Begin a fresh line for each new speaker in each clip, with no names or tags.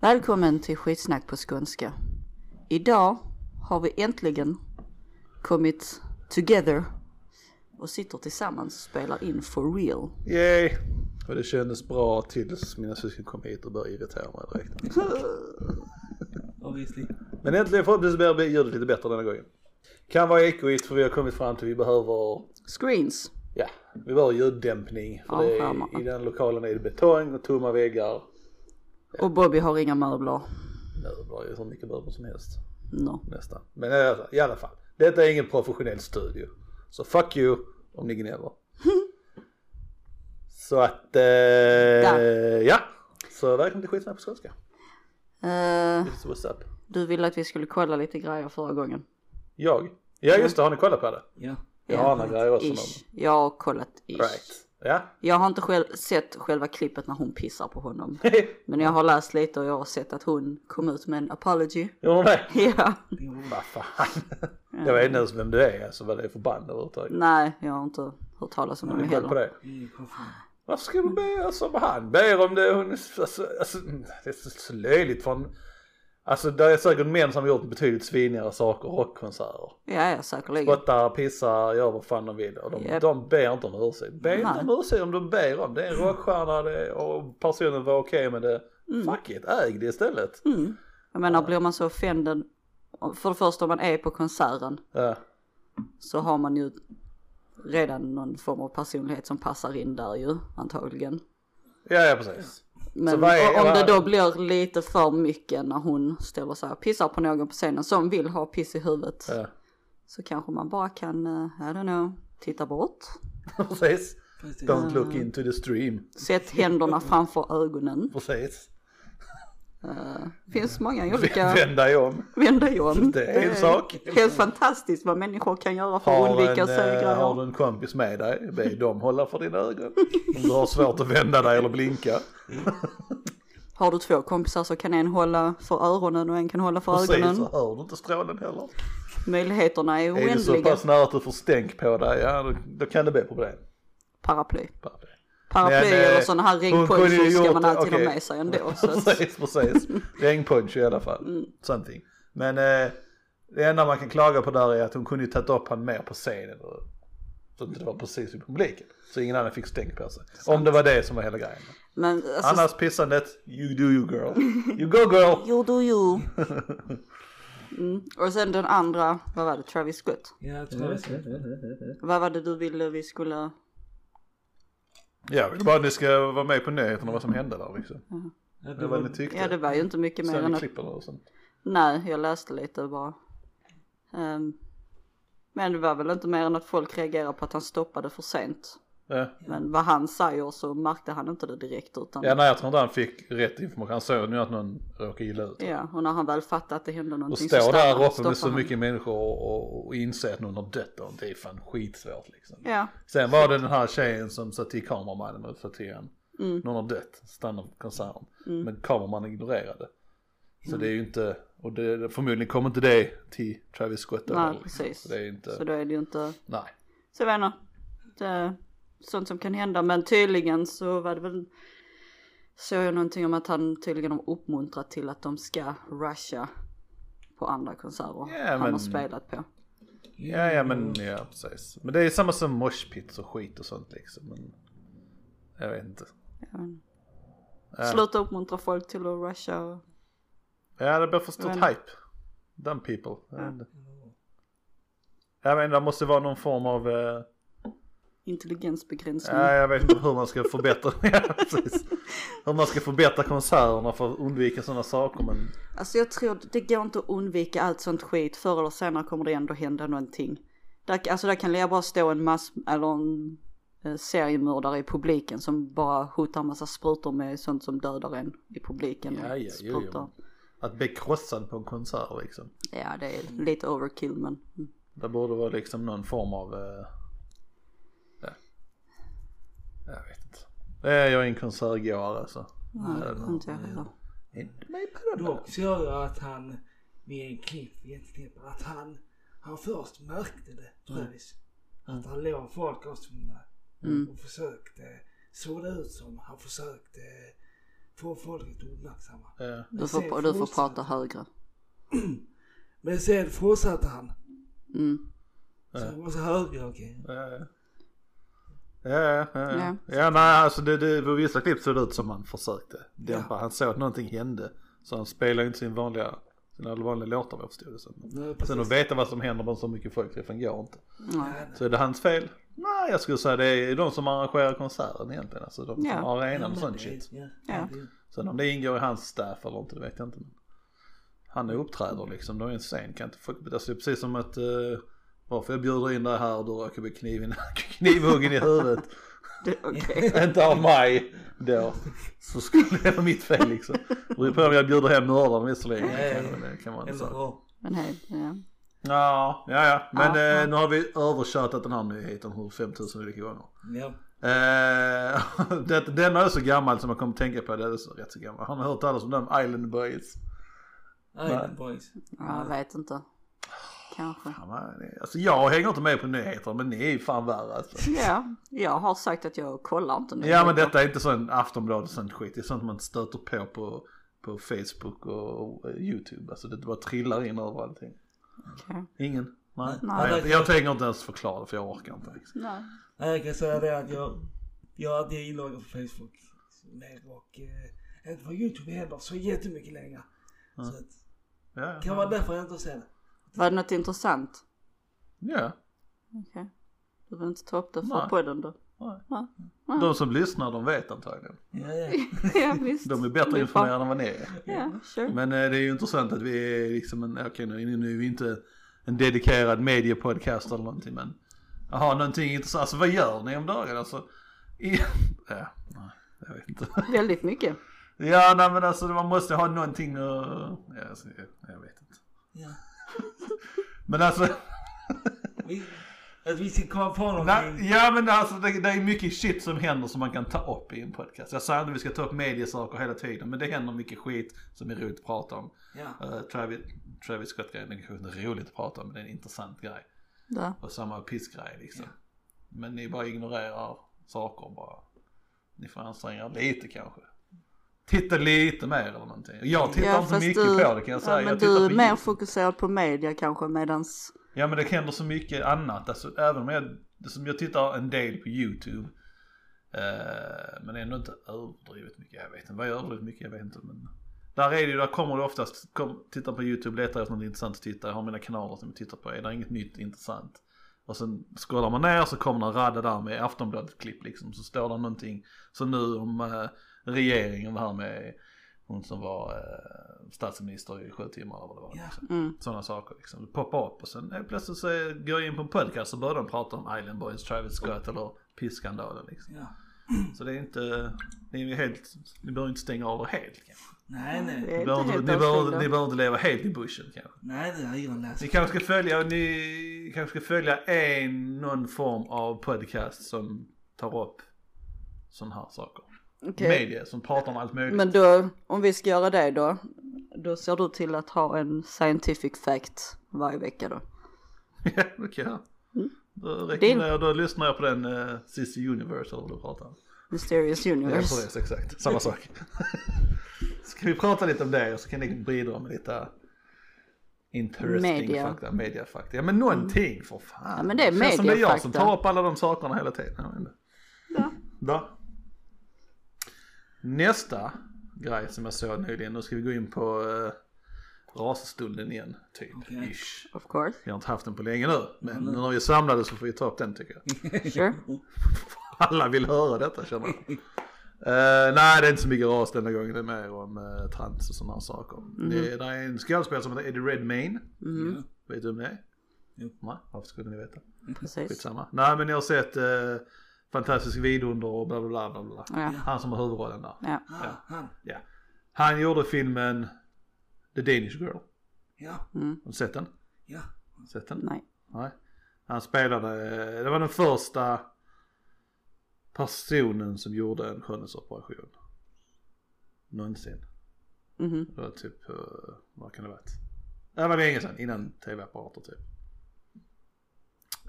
Välkommen till skitsnack på skånska. Idag har vi äntligen kommit together och sitter tillsammans och spelar in for real.
Yay! Och det kändes bra tills mina syskon kom hit och började irritera mig direkt.
Obviously.
Men äntligen förhoppningsvis blir ljudet lite bättre denna gången. Kan vara ekoigt för vi har kommit fram till att vi behöver,
Screens.
ja, vi behöver ljuddämpning. För
Ja,
det är,
skärmarna.
I den lokalen är det betong och tomma väggar.
Och Bobby har inga möbler.
Nu var det ju så mycket möbler som helst.
No.
Nästan. Men i alla- i alla fall, detta är ingen professionell studio. Så fuck you om ni gnäller. så att, eh, ja. Så välkommen till skitsnack på skånska.
Eh,
It's what's up.
du ville att vi skulle kolla lite grejer förra gången.
Jag? Ja just det, har ni kollat på det?
Ja.
Jag har några grejer också.
Ish.
någon-
Jag har kollat ish.
Right. Ja.
Jag har inte själv sett själva klippet när hon pissar på honom. Men jag har läst lite och jag har sett att hon kom ut med en apology.
Gjorde det?
Ja.
Vad fan. Jag vet inte ens vem du är, alltså vad det är för band överhuvudtaget.
Nej, jag har inte hört talas om
Har
dem
ni koll på
heller.
det?
Det är ju konfirm.
Varför ska du be alltså, vad han ber om det? Hon, alltså, alltså, det är så, så löjligt från... Alltså det är säkert män som har gjort betydligt svinigare saker, rockkonserter.
Ja, ja, säkerligen.
Spottar, pissar, gör vad fan de vill. Och de,
Japp.
de ber inte om ursäkt. Be inte
Nej.
om ursäkt om de ber om det. är en rockstjärna det, och personen var okej med det.
Mm.
Fuck it, äg det istället.
Jag menar, blir man så offended, för det första om man är på konserten
Ja.
så har man ju redan någon form av personlighet som passar in där ju, antagligen.
Ja, ja precis. Så
Men
vad är-
o- om
vad-
det då blir lite för mycket när hon ställer sig och pissar på någon på scenen som vill ha piss i huvudet
Ja.
så kanske man bara kan, eh, I don't know, titta bort.
Precis.
Fast det
Don't
Mm.
look into the stream.
Sätt händerna framför ögonen.
Precis.
finns många olika,
Vänd dig om.
vänd dig om.
Det är en sak.
Helt fantastiskt vad människor kan göra för att
Har en,
undvika att se
eh, har du
grejer.
en kompis med dig, be dem hålla för dina ögon. Om du har svårt att vända dig eller blinka.
Har du två kompisar så kan en hålla för öronen och en kan hålla för
Precis,
ögonen.
så hör du inte strålen heller.
Möjligheterna är
Är du så
oändliga.
pass nära att du får stänk på dig, ja då, då kan det bli problem.
Paraply.
Bara det.
Paraply
Men, eh,
eller sådana här
hon kunde ju
regnponchos ska
gjort
man
det,
alltid
okej.
ha med sig ändå. Så att, Mm.
precis, precis. Regnpunch i alla fall. Something. Men eh, det enda man kan klaga på där är att hon kunde ju tagit upp han mer på scenen. Och, så att det var precis i publiken. Så ingen annan fick stänk på sig. Om det var det som var hela grejen.
men alltså,
Annars pissandet, you do you girl. You go girl!
Jo, do you. Mm. Och sen den andra, vad var det, Travis Scott?
Ja, jag tror jag
Vad var det du ville vi skulle...
Jag vill bara att ni ska vara med på nyheterna vad som hände där liksom.
Ja,
Det
det
var vad
var
ni tyckte.
Ja, det var ju inte mycket mer
Sen
än
ni
att...
klipper och sånt.
Nej, jag läste lite bara. Ehm, men det var väl inte mer än att folk reagerade på att han stoppade för sent.
Ja.
Men vad han säger så märkte han inte det direkt utan...
ja, nej jag tror inte han fick rätt information. Han såg nu att någon råkade illa ut.
Ja, och när han väl fattade att det hände
Och
någonting
stå
stannar han,
där uppe med så
stoppar han.
mycket människor och, och, och inse att någon har dött och det är fan skitsvårt liksom.
Ja,
Sen var det den här tjejen som sa till kameramannen och sa till honom,
Mm.
någon har dött, stanna på konserten. Men kameramannen ignorerade. Så
Mm.
det är ju inte, och det, förmodligen kommer inte det till Travis Scott då,
nej
liksom.
precis.
Så det är inte,
Så då är det ju inte...
nej.
Så jag vet inte. Det är sånt som kan hända. Men tydligen så var det väl... Såg jag någonting om att han tydligen har uppmuntrat till att de ska rusha på andra konserter
Ja,
han
men-
har spelat på.
Ja, ja men ja precis. Men det är samma som moshpits och skit och sånt liksom. Men, jag vet inte. Ja.
Sluta uppmuntra folk till att rusha och
Ja, det blir för stort
Men-
hype. Dumb people. And... Jag menar, det måste vara någon form av... Eh...
intelligensbegränsning.
Ja, jag vet inte hur man ska förbättra... ja, precis. Hur man ska förbättra konserterna för att undvika sådana saker. Men
Alltså jag tror det går inte att undvika allt sånt skit. Förr eller senare kommer det ändå hända någonting. Där, alltså där kan lika bara stå en mass, eller en eh, seriemördare i publiken som bara hotar en massa sprutor med sånt som dödar en i publiken.
Ja, ja, jo, jo.
Sprutor.
att bli krossad på en konsert liksom.
ja det är lite overkill men. mm.
Det borde vara liksom någon form av... Eh... Ja. Jag vet inte. Nej, Jag är en konsertgåare alltså.
Ja, eh, inte jag heller.
Inte mig på det.
Dock så gör jag att han med en klipp i ett klipp att han, han först märkte det Travis. Att han låg folk eh,
Mm.
och som, och försökte, såg det ut som han försökte få folket uppmärksamma.
Ja.
Du får, du får prata högre.
Men sen fortsatte han.
Mm.
Så jag måste höra, okej.
Ja, ja, ja.
Ja.
ja. eh, ja nej, alltså det, det, på vissa klipp såg det ut som han försökte dämpa. Han såg att någonting hände. Så han spelar ju inte sin vanliga, sina vanliga låtar vad jag förstod det som.
Nej,
Sen att
precis.
veta vad som händer med så mycket folk, det fungerar inte.
Nej.
Så är det hans fel? Nej, jag skulle säga det är de som arrangerar konserten egentligen. Alltså de som
Ja.
har arenan och
Ja,
sån
men det-
shit.
Ja.
Ja.
Sen om det ingår i hans staff eller inte, det vet jag inte. Men han uppträder liksom, de är en scen. Kan inte folk, alltså, det är precis som att eh, varför jag bjuder in dig här, du råkar bli kniven, knivhuggen i huvudet.
Det- Okej.
inte av mig då. Så skulle det vara mitt fel liksom. Det beror på om jag bjuder hem mördaren visserligen. Det kan- Det kan man inte
Eller
säga.
hur?
Men hej. Ja.
Ja, ja, ja. Men
Ja,
eh,
ja.
nu har vi övertjatat den här nyheten hur 5000 olika gånger.
Ja.
Eh, det, denna är så gammal som jag kommer att tänka på, det är så, rätt så gammal. Har ni hört talas om dem? Island Boys?
Island Boys.
Ja, jag vet inte. Kanske.
Ja, men, Alltså jag hänger inte med på nyheter men ni är ju fan värre alltså.
Ja, jag har sagt att jag kollar inte nu.
Ja men detta är inte sån Aftonbladet och sånt skit, det är sånt man stöter på på, på Facebook och, och YouTube. Alltså det bara trillar in över allting.
Okej.
Ingen? Nej.
Nej.
Nej. jag, jag tänker inte ens förklara det för jag orkar inte. Liksom.
Nej.
Nej, jag kan säga det att jag, jag har alltid inloggad på Facebook. mer Och eh, inte på Youtube heller så jättemycket längre. Så att,
Ja,
kan vara därför jag inte ser det.
Var det något intressant?
ja.
Okej. Du vill inte ta upp det för
Nej.
podden då?
Nej.
Ja.
De som lyssnar de vet antagligen.
Ja, ja.
ja visst.
De är bättre
Vi
informerade än vad ni är.
bara- Ja, sure.
Men eh, det är ju intressant att vi är liksom en, okej nu, nu är vi inte en dedikerad mediepodcast eller någonting men, jaha någonting intressant, alltså vad gör ni om dagen alltså? I, ja, nej, jag vet inte.
Väldigt mycket.
Ja nej men alltså man måste ha någonting att, ja, alltså, jag, jag vet inte.
ja.
Men alltså,
Vi, att vi ska komma på någonting.
nej, ja men alltså det, det är mycket shit som händer som man kan ta upp i en podcast. Jag säger inte att vi ska ta upp mediesaker hela tiden men det händer mycket skit som är roligt att prata om.
Ja.
Eh, Travis, Travis Scott-grejen, den kanske inte är roligt att prata om men det är en intressant grej.
Där.
och samma pissgrej liksom. Men ni bara ignorerar saker bara. Ni får anstränga er lite kanske. Titta lite mer eller någonting. Jag tittar inte mycket på det kan jag säga.
Ja, men
jag
du
tittar
är
på
mer
ljud.
fokuserad på media kanske medans.
Ja men det händer så mycket annat. Alltså, även om jag, som jag tittar en del på YouTube. Eh, men ändå inte överdrivet mycket. Jag vet inte vad jag överdrivet mycket, jag vet inte. Men där är det ju, där kommer det oftast, kom, tittar på YouTube, letar efter något intressant att titta. Jag har mina kanaler som jag tittar på, är det inget nytt intressant? Och sen scrollar man ner så kommer det en radda där med Aftonbladet-klipp liksom. Så står det någonting, så nu om eh, regeringen, det här med hon som var eh, statsminister i sju timmar eller vad det var.
Ja.
liksom
Mm.
sådana saker liksom. Det poppar upp och sen eh, plötsligt så eh, går jag in på en podcast och börjar de prata om Island Boys, Travis Scott eller pisskandalen liksom.
ja.
Så det är inte, ni är ju helt, ni behöver inte stänga av er helt kanske.
Nej,
Det
nej.
är
Ni
inte
behöver, inte-
helt
ni, behöver,
avskilda.
ni behöver inte leva helt i bushen kanske.
Nej, det har jag läst.
Ni kanske ska följa, ni kanske ska följa en, någon form av podcast som tar upp sådana här saker.
Okej.
Media som pratar om allt möjligt.
Men då, om vi ska göra det då. Då ser du till att ha en scientific fact varje vecka då.
Ja, det kan jag.
Mm.
Då, rekommenderar jag- då lyssnar jag på den uh, Sissy Universe eller vad du pratar om.
Mysterious
Ja,
universe.
precis, exakt. Samma sak. Ska vi prata lite om det och så kan ni bidra med lite interesting
Media.
fakta, media fakta. Ja men någonting för fan.
Ja, men det är
känns som det är jag som
mediafakta.
tar upp alla de sakerna hela tiden. Jag vet inte.
Ja.
Då. Nästa grej som jag såg nyligen, nu ska vi gå in på uh, rasstunden igen, typ.
Okej.
Ish.
Of course.
Vi har inte haft den på länge nu, men nu när vi är samlade så får vi ta upp den tycker jag.
Sure.
Alla vill höra detta känner jag. Eh, nej det är inte så mycket ras denna gången, det är mer om eh, trans och sådana här saker. Det, det är en skådespelare som heter Eddie Redmayne.
Mm.
Vet du vem det är?
Jo.
Nej, varför skulle ni veta?
Precis.
Skitsamma. Nej men jag har sett eh, Fantastisk vidunder och bla bla bla bla bla.
Ja.
Han som har huvudrollen där.
Ja.
Ah, han.
Ja. Han gjorde filmen The Danish Girl.
Ja,
Har du sett den?
ja.
Sett den?
Nej.
Nej. Han spelade, det var den första personen som gjorde en skönhetsoperation. Någonsin.
Mhm.
Det var typ, eh, vad kan det ha varit? Det var länge sedan, innan tv-apparater typ.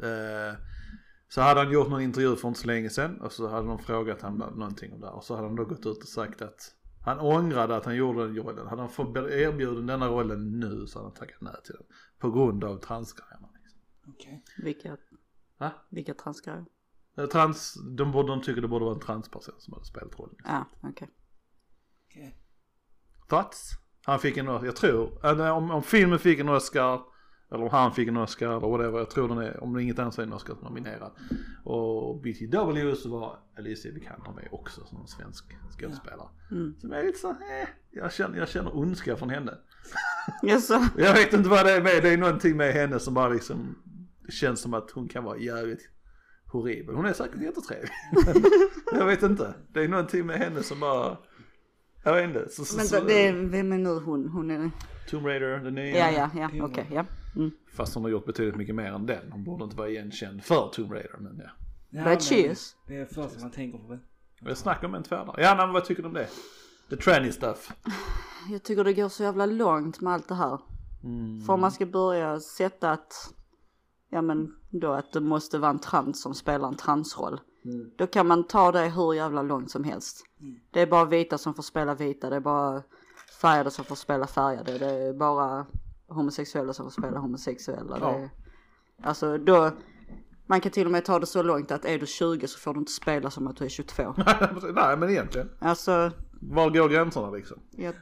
Eh, Så hade han gjort någon intervju för inte så länge sedan och så hade de frågat honom någonting om det här. och så hade han då gått ut och sagt att Han ångrade att han gjorde den rollen. Hade han fått erbjuden denna rollen nu så hade han tackat nej till den. På grund av transgrejerna. Liksom.
Okej.
Vilka,
Va?
vilka transgrejer?
Eh, Trans, de, borde, de tycker det borde vara en transperson som hade spelat rollen.
Ja, okej.
okej.
Thoughts? Han fick en, jag tror, eller om, om filmen fick en Oscar, eller om han fick en Oscar eller whatever, jag tror den är, om det inget annat så är en Oscar nominerad. Och BTW så var Alicia Vikander med också som en svensk skådespelare.
Mm.
Som är lite så, eh, jag känner, jag känner ondska från henne.
Jaså?
Jag vet inte vad det är med, det är någonting med henne som bara liksom det känns som att hon kan vara jävligt horribel. Hon är säkert jättetrevlig. jag vet inte, det är någonting med henne som bara, jag vet inte. Så, så,
Vänta,
så,
det är, vem är nu hon? Hon är...
Tomb Raider, den nya.
Ja, ja, ja, okej, ja. Mm.
Fast hon har gjort betydligt mycket mer än den. Hon borde inte vara igenkänd för Tomb Raider. Men ja.
Ja,
Bad
men
cheers.
Det är det första man tänker på väl?
Men Jag snackar om en tvärdare. Ja, nej, men vad tycker du om det? The tranny stuff.
Jag tycker det går så jävla långt med allt det här.
Mm.
För om man ska börja sätta att, ja men då att det måste vara en trans som spelar en transroll.
Mm.
Då kan man ta det hur jävla långt som helst. Det är bara vita som får spela vita, det är bara färgade som får spela färgade, det är bara homosexuella som får spela homosexuella.
Ja.
Det är, alltså då, man kan till och med ta det så långt att är du 20 så får du inte spela som att du är 22.
nej, men egentligen.
Alltså,
Var går gränserna liksom?
jag,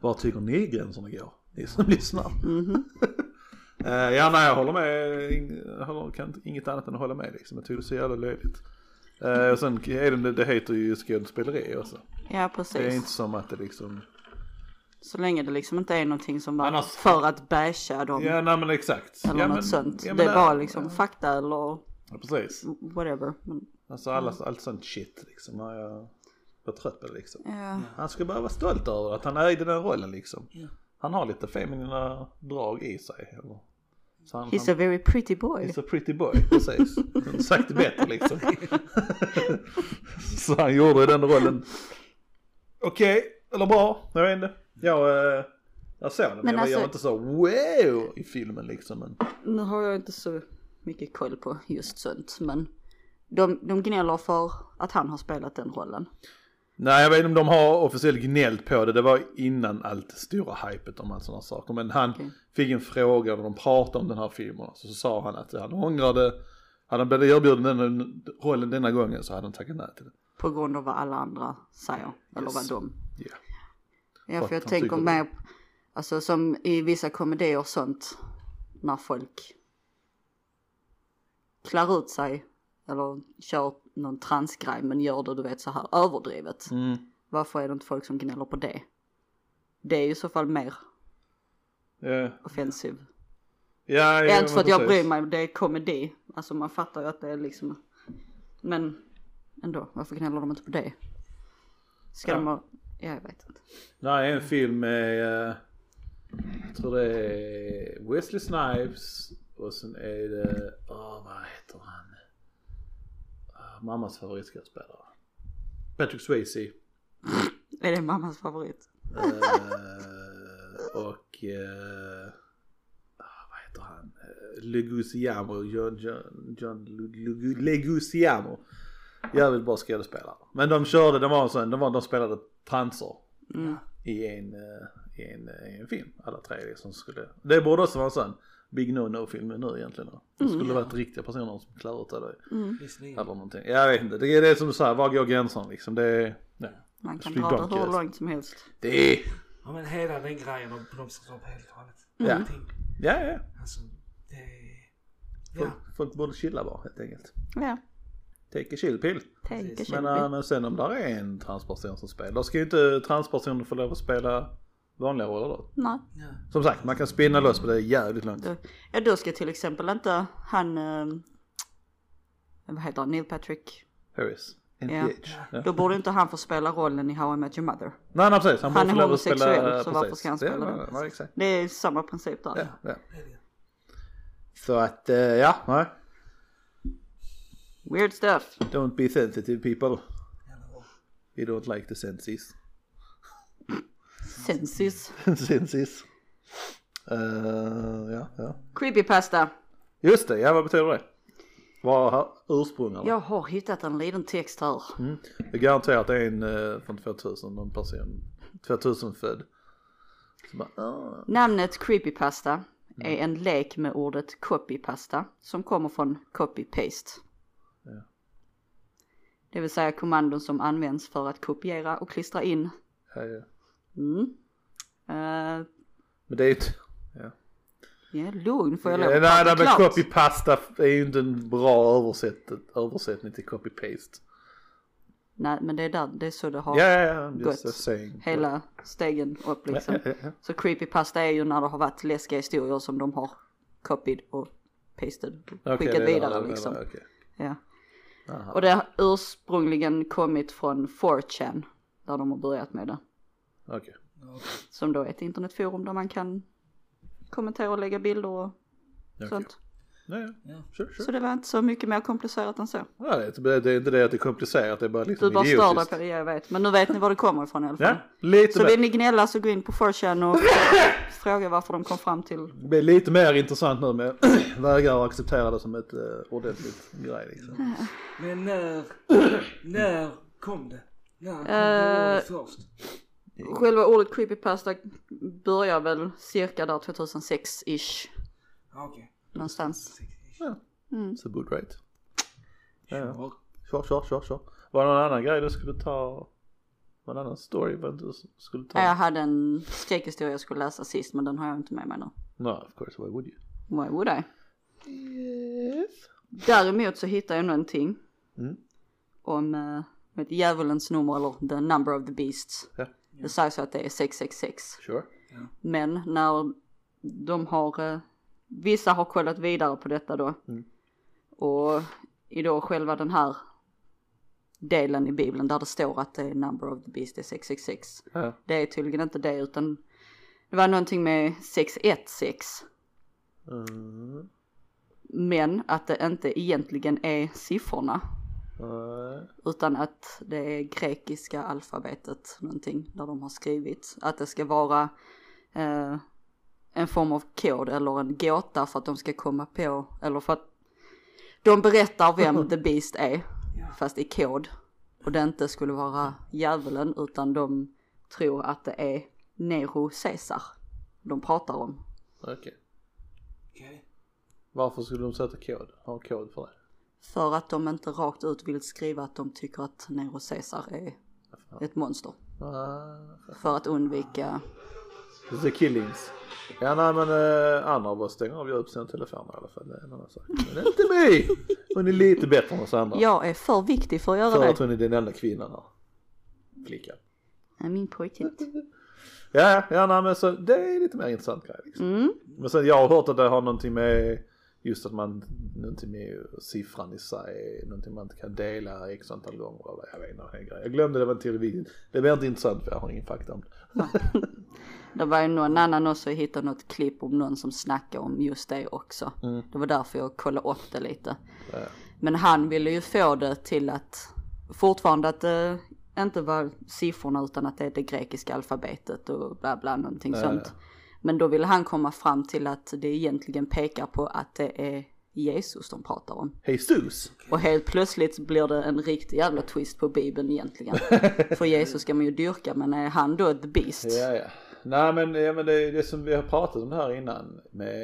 Var tycker ni gränserna går? Ni som lyssnar.
Mhm.
Eh, ja, nej, jag håller med. Ing- Jag håller, kan inte- inget annat än att hålla med liksom. Jag tycker det är så jävla löjligt. Eh, och sen är det, det heter ju skådespeleri också.
ja
Det är
precis.
inte som att det liksom...
Så länge det liksom inte är någonting som bara
Annars-
för att basha dem
alltså- Ja, nej men exakt.
eller
ja,
något
men,
sånt.
ja, men
det är
där-
bara liksom Mm. fakta eller
Ja, precis.
whatever. Men,
Alltså alla, allt sånt shit liksom. När jag var trött på det liksom.
ja.
Han ska bara vara stolt över att han ägde den rollen liksom.
Ja.
Han har lite feminina drag i sig. Eller? Så han,
He's a
han,
very pretty boy.
he's a pretty boy, precis. Men Sagt det bättre liksom. Så han gjorde den rollen. Okej, eller bra, jag vet inte. Jag, eh, jag såg den, men,
Men
jag, var- jag var inte
alltså-
så wow i filmen liksom. Men,
Nu har jag inte så mycket koll på just sånt men de, de gnäller för att han har spelat den rollen.
Nej jag vet inte om de har officiellt gnällt på det, det var innan allt det stora hypet om allt sådana saker. Men han
Okej.
fick en fråga när de pratade om den här filmen, så, så sa han att han ångrade, hade han blivit erbjuden den rollen denna gången så hade han tackat nej till den.
På grund av vad alla andra säger. Eller
Yes.
vad de.
Ja.
Ja
Vad
för jag
han
tänker
tycker.
mer, alltså som i vissa komedier och sånt. När folk klär ut sig eller kör någon transgrej men gör det du vet så här överdrivet.
Mm.
Varför är det inte folk som gnäller på det? Det är ju i så fall mer
Ja,
offensiv.
ja,
Det är
ja,
inte för
men
att jag
precis.
bryr mig, det är komedi. Alltså man fattar ju att det är liksom. Men ändå, varför gnäller de inte på det? Ska
Ja.
de ha... Ja, jag vet inte.
Nej, en film med, eh, jag tror det är Wesley Snipes och sen är det, åh vad heter han? Ah, Mammas favoritskådespelare. Patrick Swayze.
Är det mammas favorit?
Eh, och eh, ah, vad heter han? Eh, Leguizamo, John, John, John Legu- Leguizamo. Jävligt bra skådespelare. Men de körde, de var en sån, de, var, de spelade transer i, en, eh, i, en, eh, i en film. Alla tre liksom skulle, det borde också vara en sån Big No No film nu egentligen. Det skulle varit riktiga personer som klär ut det.
Visserligen.
Eller någonting. Jag vet inte, det är det som du säger, var går gränsen liksom? Det är, ja.
Man kan
Street
dra det
Donkey,
hur
alltså.
långt som helst.
Det är,
Ja men hela den grejen om blomsterkropp helt och hållet.
Ja.
Allting.
ja ja.
Alltså det är...
Folk,
Ja.
folk borde chilla bara helt enkelt.
Ja,
Take a chill pill.
take a
Precis.
Men,
chill pill.
äh, men sen om där är en transperson som spelar, då ska ju inte transpersoner få lov att spela vanliga roller då.
Nej.
ja.
Som sagt, man kan spinna loss på det jävligt långt.
Då- Ja, då ska till exempel inte han, eh, vad heter han, Neil Patrick.
Harris.
Ja.
NPH. Ja.
Då borde inte han få spela rollen i How I Met Your Mother.
Nej, nej precis.
Han
Han, borde
är
få lov att spela.
homosexuell, så varför
precis.
ska han spela
det?
det?
Ja, nej, exakt.
Det är samma princip där.
Ja, ja.
det är det.
Så att, eh, ja, nej.
Weird stuff.
Don't be sensitive people.
Jävla bra.
We don't like the senses.
Sensis.
senses. Eh, ja, ja.
Creepypasta.
Just det, ja vad betyder det? Vad har ursprung eller?
Jag har hittat en liten text här.
Mm. Jag garanterar att det är en eh, från 2000, någon person 2000 född. Så bara, ah.
Namnet creepypasta är
Mm.
en lek med ordet copypasta som kommer från copy-paste.
Ja.
Det vill säga kommandon som används för att kopiera och klistra in.
ja, ja.
Mm. Eh,
Men det är ju inte... Ja.
ja, lugn får jag lov
Ja,
att
nej, nej,
prata
men
klart.
copy-pasta är ju inte en bra översätt, översättning till copy-paste.
Nej, men det är där, det är så det har
Ja, ja, ja, just
Gott.
a saying.
hela stegen upp
Ja,
liksom.
ja, ja.
Så creepypasta är ju när det har varit läskiga historier som de har copied och pasted och
Okej,
skickat
det är
vidare
där, det är
liksom.
där, okej.
Ja.
Aha.
Och det har ursprungligen kommit från 4chan där de har börjat med det.
Okej.
Som då är ett internetforum där man kan kommentera och lägga bilder och
Okej.
sånt.
Ja, ja.
Ja.
Sure, sure.
Så det var inte så mycket mer komplicerat än så.
Ja, det, är inte- det är inte det att det är komplicerat, det är bara liksom
Du bara stör dig
idiotiskt.
på det, jag vet. Men nu vet ni var det kommer ifrån i alla fall.
Ja, lite,
Så
mer,
vill ni gnälla så gå in på 4chan och fråga varför de kom fram till
det blir lite mer intressant nu med vägrar acceptera det som ett eh, ordentligt grej liksom.
Men när, när kom det? När
Eh.
kom det först?
Själva ordet creepypasta börjar väl cirka där 2006-ish
Ja, Okej.
någonstans.
Ja,
Mm.
it's a boot right. Ja, ja.
Sure.
Kör, kör, kör, kör. Var det någon annan grej du skulle ta? Var det en annan story vad du skulle ta?
Ja, Jag hade en skräckhistoria jag skulle läsa sist men den har jag inte med mig nu.
No, of course, why would you?
Why would I?
Yes.
Däremot så hittade jag någonting
Mm.
om eh, med djävulens nummer eller the number of the beasts.
Ja,
Det sägs ju att det är 666.
sure.
Men när de har, eh, vissa har kollat vidare på detta då.
Mm.
Och i då själva den här delen i bibeln där det står att det är number of the beast är 666.
Ja,
Det är tydligen inte det utan det var någonting med 616.
Mm.
Men att det inte egentligen är siffrorna
Nej.
utan att det är grekiska alfabetet någonting där de har skrivit. Att det ska vara eh, en form av kod eller en gåta för att de ska komma på eller för att de berättar vem the beast är fast i kod och det inte skulle vara djävulen utan de tror att det är Nero Caesar de pratar om.
Okej.
Okej.
Varför skulle de sätta kod? Ha kod för det?
För att de inte rakt ut vill skriva att de tycker att Nero Caesar är ett monster.
Ah.
För att undvika
The Killings. Ja nej men eh, andra bara stänger av upp sina telefoner i alla fall. Det är en annan sak. Men det är inte mig! Hon är lite bättre än oss andra.
Jag är för viktig för att göra
För
det.
att hon är den enda kvinnan här. Flickan.
Nej, min pojke inte.
Ja, ja nej, men så det är lite mer intressant grej. Liksom.
Mm.
Men sen jag har hört att det har någonting med just att man, någonting med siffran i sig, någonting man inte kan dela x antal gånger eller jag vet inte, någon grej. Jag glömde det var en teori. Det blir inte intressant för jag har ingen fakta om det.
Det var ju någon annan också jag hittade något klipp om någon som snackade om just det också.
Mm.
Det var därför jag kollade upp det lite. Men han ville ju få det till att fortfarande att det inte var siffrorna utan att det är det grekiska alfabetet och bla bla någonting sånt. Men då ville han komma fram till att det egentligen pekar på att det är Jesus de pratar om.
Hej Sus!
Och helt plötsligt blir det en riktig jävla twist på bibeln egentligen. För Jesus ska man ju dyrka men är han då the beast?
Ja, ja. Nej men, ja, men det är det som vi har pratat om här innan med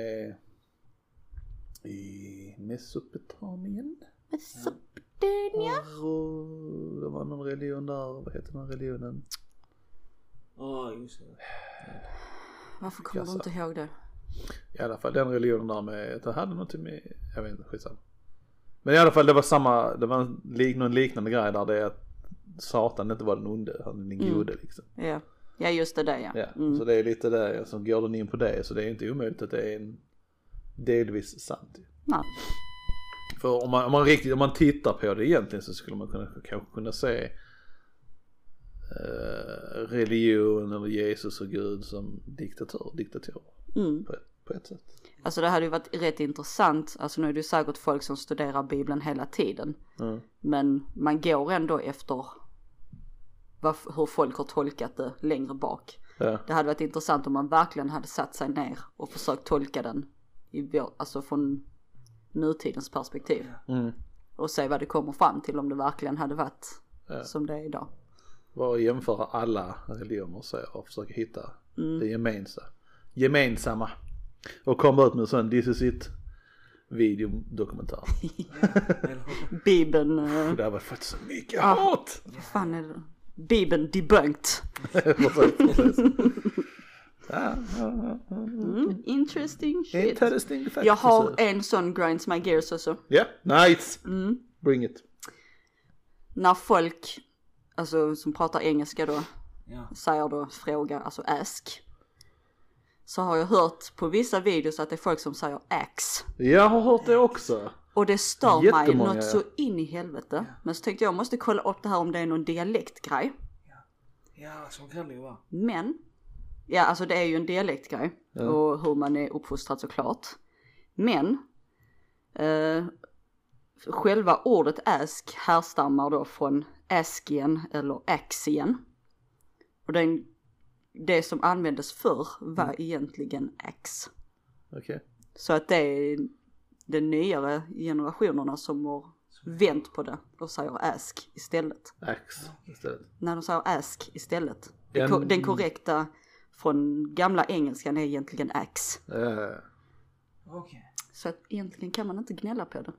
i Mesopotamien.
Mesopotamia?
Och eh, det var någon religion där, vad heter den religionen?
Ja, just det.
Varför kommer du inte ihåg det?
I alla fall den religionen där med, det hade någonting med, jag vet inte, skitsamma. Men i alla fall det var samma, det var en, lik- någon liknande grej där det är att Satan inte var den onde, han är den gode liksom.
Ja, ja just det där ja. Mm.
Ja, så det är lite det, så går den in på det så det är ju inte omöjligt att det är en delvis sant ju.
Nej.
För om man, om man riktigt, om man tittar på det egentligen så skulle man kunna, kanske kunna se eh, religion eller Jesus och Gud som diktatur, diktatur
Mm.
på, ett- på ett sätt.
Alltså det hade ju varit rätt intressant, alltså nu är det ju säkert folk som studerar bibeln hela tiden.
Mm.
Men man går ändå efter vad, hur folk har tolkat det längre bak.
Ja,
Det hade varit intressant om man verkligen hade satt sig ner och försökt tolka den i vår, alltså från nutidens perspektiv.
Mm.
Och se vad det kommer fram till om det verkligen hade varit
Ja.
som det är idag.
var att jämföra alla religioner så och försöka hitta
Mm.
det gemensamma. gemensamma. Och komma ut med en sån this is it videodokumentär.
Eller hur?
Bibeln, eh,
Det har varit fått så mycket hat!
vad fan är det? Bibeln debunked.
Precis, precis. Ja, ja, ja.
Mm, interesting shit.
Interesting fact.
Jag har en sån grinds my gears också. Mm.
Ja, nice! Bring it.
När folk, alltså som pratar engelska då,
Ja.
säger då fråga, alltså ask. Så har jag hört på vissa videos att det är folk som säger ax.
Jag har hört det också.
Och det stör mig
Jättemånga,
något
ja.
så in i helvete. Men så tänkte jag, jag måste kolla upp det här om det är någon dialektgrej.
ja, så kan det ju vara.
Men, ja alltså det är ju en dialektgrej och hur man är uppfostrad såklart. Men, eh, själva ordet ask härstammar då från askien eller axien. Och den, det som användes förr var
Mm.
egentligen ax.
Okej.
Så att det är de nyare generationerna som har vänt på det och säger ask istället
Ax istället.
när de säger ask istället.
En-
Den, ko- den korrekta från gamla engelskan är egentligen ax.
Uh,
Okej.
Så att egentligen kan man inte gnälla på det.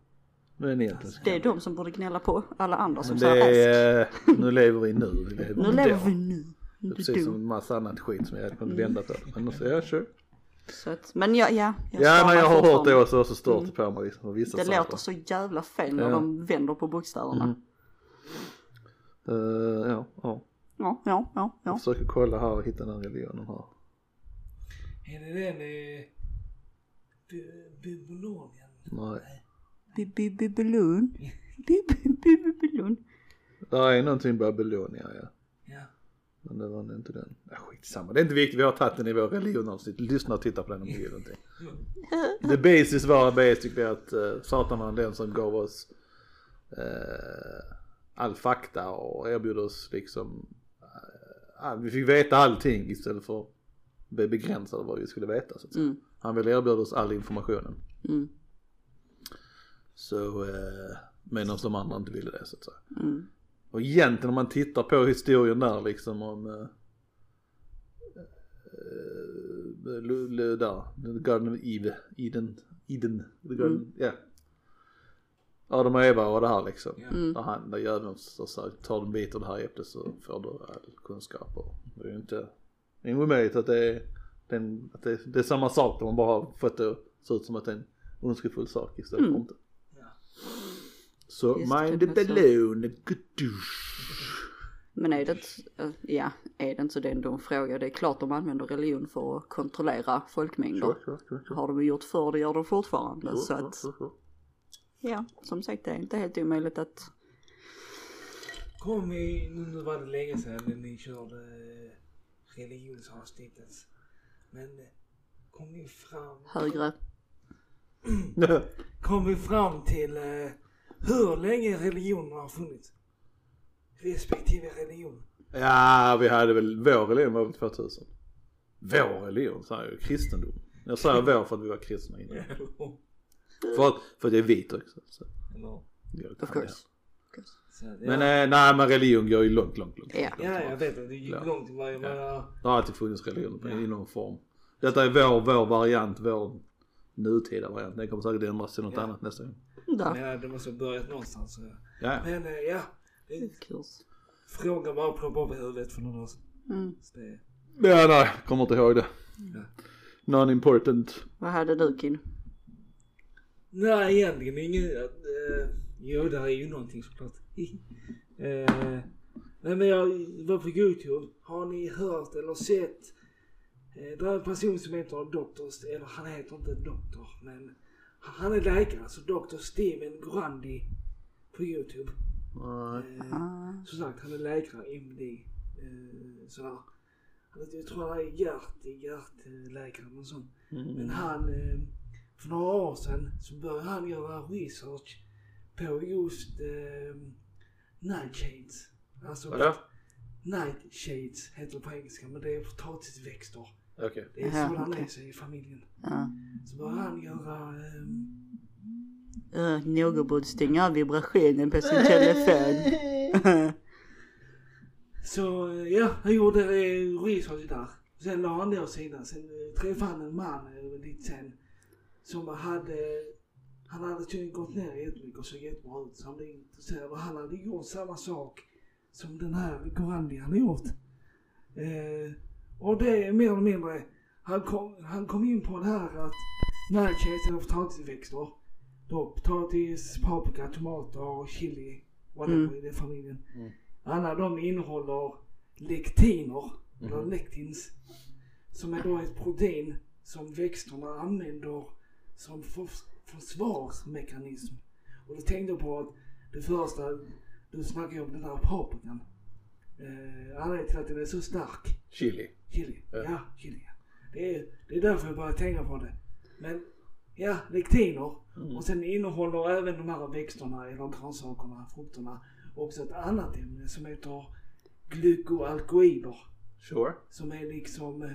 men egentligen.
Det är de som borde gnälla på alla andra som
Men
säger
det
ask.
är, eh, nu lever vi nu, vi lever
Nu
då.
lever vi Mm. nu.
Det är
Inte
precis som
du.
en massa annat skit som jag hade kunnat vända på. Men så, ja, sure.
Så att, men ja, ja. stör
Ja, men
mig
jag har hört
fortfarande. Mm.
det också och så stört det på mig. Liksom, och vissa
Det
saker.
låter så jävla fel när
Ja. Mm.
de vänder på bokstäverna.
Eh, ja, ja.
Ja, ja, ja, ja.
Jag försöker kolla här och hitta den religionen här.
Är det den eh, Bu- Babylonien?
Nej.
Bibibibelon. Bibibibelon.
Där är någonting Babylonia ja.
Ja.
Men det var nog inte den. Ja, skitsamma, det är inte viktigt. Vi har tagit den i vår religionavsnitt. Lyssna och titta på den om ni vill någonting. The basis var basic det att uh, Satan var den som gav oss eh, all fakta och erbjöd oss liksom. eh, all- vi fick veta allting istället för att bli begränsade vad vi skulle veta. Så att säga. Han ville erbjuda oss all informationen.
Mm.
Så eh, medan de andra inte ville det så att säga.
mm.
Och egentligen om man tittar på historien där liksom om eh, eh, lu- lu- där, The Garden of Eve, Eden, Eden, The Garden, ja. Adam och Eva och det här liksom. Där han, där djävulen så- så tar en bit av det här äpplet så får du all kunskap och det är ju inte, det är omöjligt att det är, den, att det, det är samma sak där man bara har fått det att se ut som att det är en ondskefull sak istället för inte. Så
Mm. Just det,
mind the
precis.
balloon, gudush.
Men är det inte, eh, ja, är det inte så det är ändå en fråga. Det är klart de använder religion för att kontrollera folkmängder. Har de gjort förr, det gör de fortfarande. Så att, ja, som sagt det är inte helt omöjligt att,
Kom i, nu nu var det länge sedan ni körde eh, religionsavsnittens. Men eh, kom ni fram,
högre,
kom vi fram till eh, hur länge religionen har funnits? Respektive religion.
Ja, vi hade väl, vår religion var väl 2000. Vår religion säger jag, kristendom. Jag säger vår för att vi var kristna innan. För att, för att jag är vit också. Så.
Eller,
det går inte
of
hand i
course.
så, ja.
hand. Men eh, nej, men religion går ju långt, långt, långt.
Ja.
ja, jag vet att det gick
Ja.
långt. Det var ju bara...
Det har alltid funnits religion på- i någon form. Detta är vår, vår variant, vår nutida variant. Den kommer säkert ändras till något annat nästa gång.
Där,
Ja, det måste ha börjat någonstans. så.
Ja, ja.
Men eh, ja, det-
kurs.
frågan bara ploppade upp i huvudet för någon år sedan.
Mm.
Så det-
ja nej, kommer inte ihåg det.
Ja.
Non-important.
Vad hade du Kin?
Nej, egentligen inget. Uh, jo, där är ju någonting såklart. Eh, nej, men jag var på Youtube. Har ni hört eller sett? Uh, där är en person som heter Dr. Eller han heter inte Doktor, men han är läkare. Så Dr. Steven Grandi på Youtube.
Nej.
Eh, som sagt, han är läkare, MD. Eh, sådär. Han heter- Jag tror han är hjärt, hjärtläkare eller något sånt. Men han, eh, för några år sedan så började han göra research på just eh, nightshades. Alltså
Vadå?
nightshades heter det på engelska men det är potatisväxter.
Okej.
Det är
Jaha,
sådana
okej.
med sig i familjen.
Ja.
Så började han göra ehm,
Uh, någon borde stänga av vibrationen på sin telefon.
Så eh, ja, han gjorde eh, research där. Sen la han det åt sidan. Sen eh, träffade han en man eh, lite sen. Som hade, han hade tydligen gått ner jättemycket och såg jättebra ut. Så han blev intresserad. Och han hade gjort samma sak som den här Gorandi hade gjort. Eh, och det är mer eller mindre, han kom, han kom in på det här att närheten av potatisväxter. Då potatis, paprika, tomater, chili, whatever
Mm.
i den familjen.
Mm.
Alla de innehåller lektiner, eller lektins, som är då ett protein som växterna använder som för, försvarsmekanism. Och då tänkte jag på att det första, du snackade ju om den där paprikan. Eh, anledningen till att den är så stark
Chili.
Chili.
Ja.
Ja, chili. ja. Det är, det är därför jag börjar tänka på det. Men ja, lektiner. Och sen innehåller även de här växterna eller grönsakerna, frukterna också ett annat ämne som heter glykoalkoider.
Sure.
Som är liksom eh,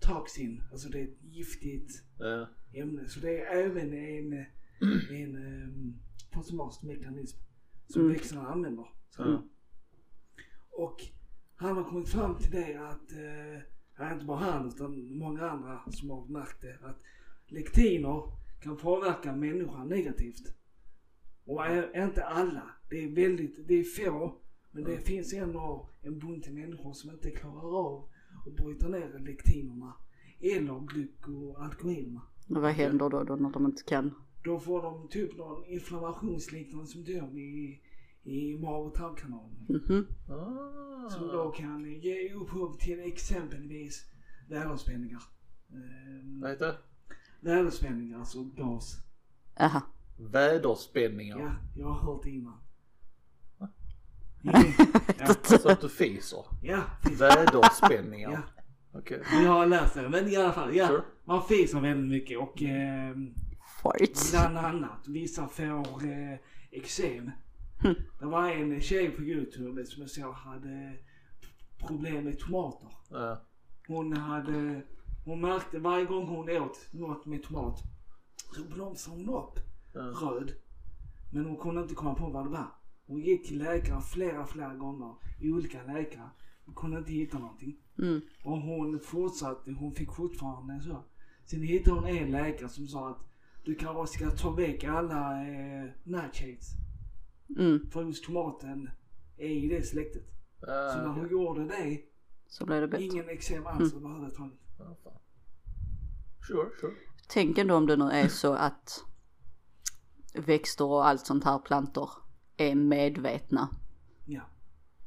toxin, alltså det är ett giftigt
Uh,
ämne. Så det är även en, eh, en um, försvarsmekanism som
Mm.
växterna använder. Så.
Ja.
Och han har kommit fram till det att, eh, inte bara han utan många andra som har märkt det, att lektiner kan påverka människan negativt. Och är, inte alla, det är väldigt, det är få, men det finns ändå en bunt människor som inte klarar av att bryta ner lektinerna eller glykoalkoholerna.
Men vad händer då, då när de inte kan?
Då får de typ någon inflammationsliknande symptom i, i mag och tarmkanalen.
Mhm.
ah.
Som då kan ge upphov till exempelvis väderspänningar. Ehm,
Vad heter det?
Väderspänningar, alltså gas.
Aha.
Väderspänningar.
Ja. jag har hört det innan.
Alltså att du fiser.
Ja, precis.
Väderspänningar.
ja.
Okej.
Men jag har läst det. Men i alla fall, ja.
Sure.
Man fiser väldigt mycket och ehm,
Farts.
Bland annat. Vissa får eh, eksem. Det var en tjej på youtube som jag såg hade problem med tomater.
Ja.
Hon hade, hon märkte varje gång hon åt något med tomat så blomstrade hon upp
Ja.
röd. Men hon kunde inte komma på vad det var. Hon gick till läkare flera, flera gånger. I olika läkare. Hon kunde inte hitta någonting.
Mm.
Och hon fortsatte, hon fick fortfarande så. Sen hittade hon en läkare som sa att du kanske ska ta väck alla eh, nightshades.
Mm.
För just tomaten är i det släktet. Så när
Ah,
hon
okej. Mm.
gjorde det,
Så blir det bättre.
ingen eksem alls överhuvudtaget.
Ja, fan. Sure, sure.
Tänk ändå om det nu är så att växter och allt sånt här plantor är medvetna.
Ja.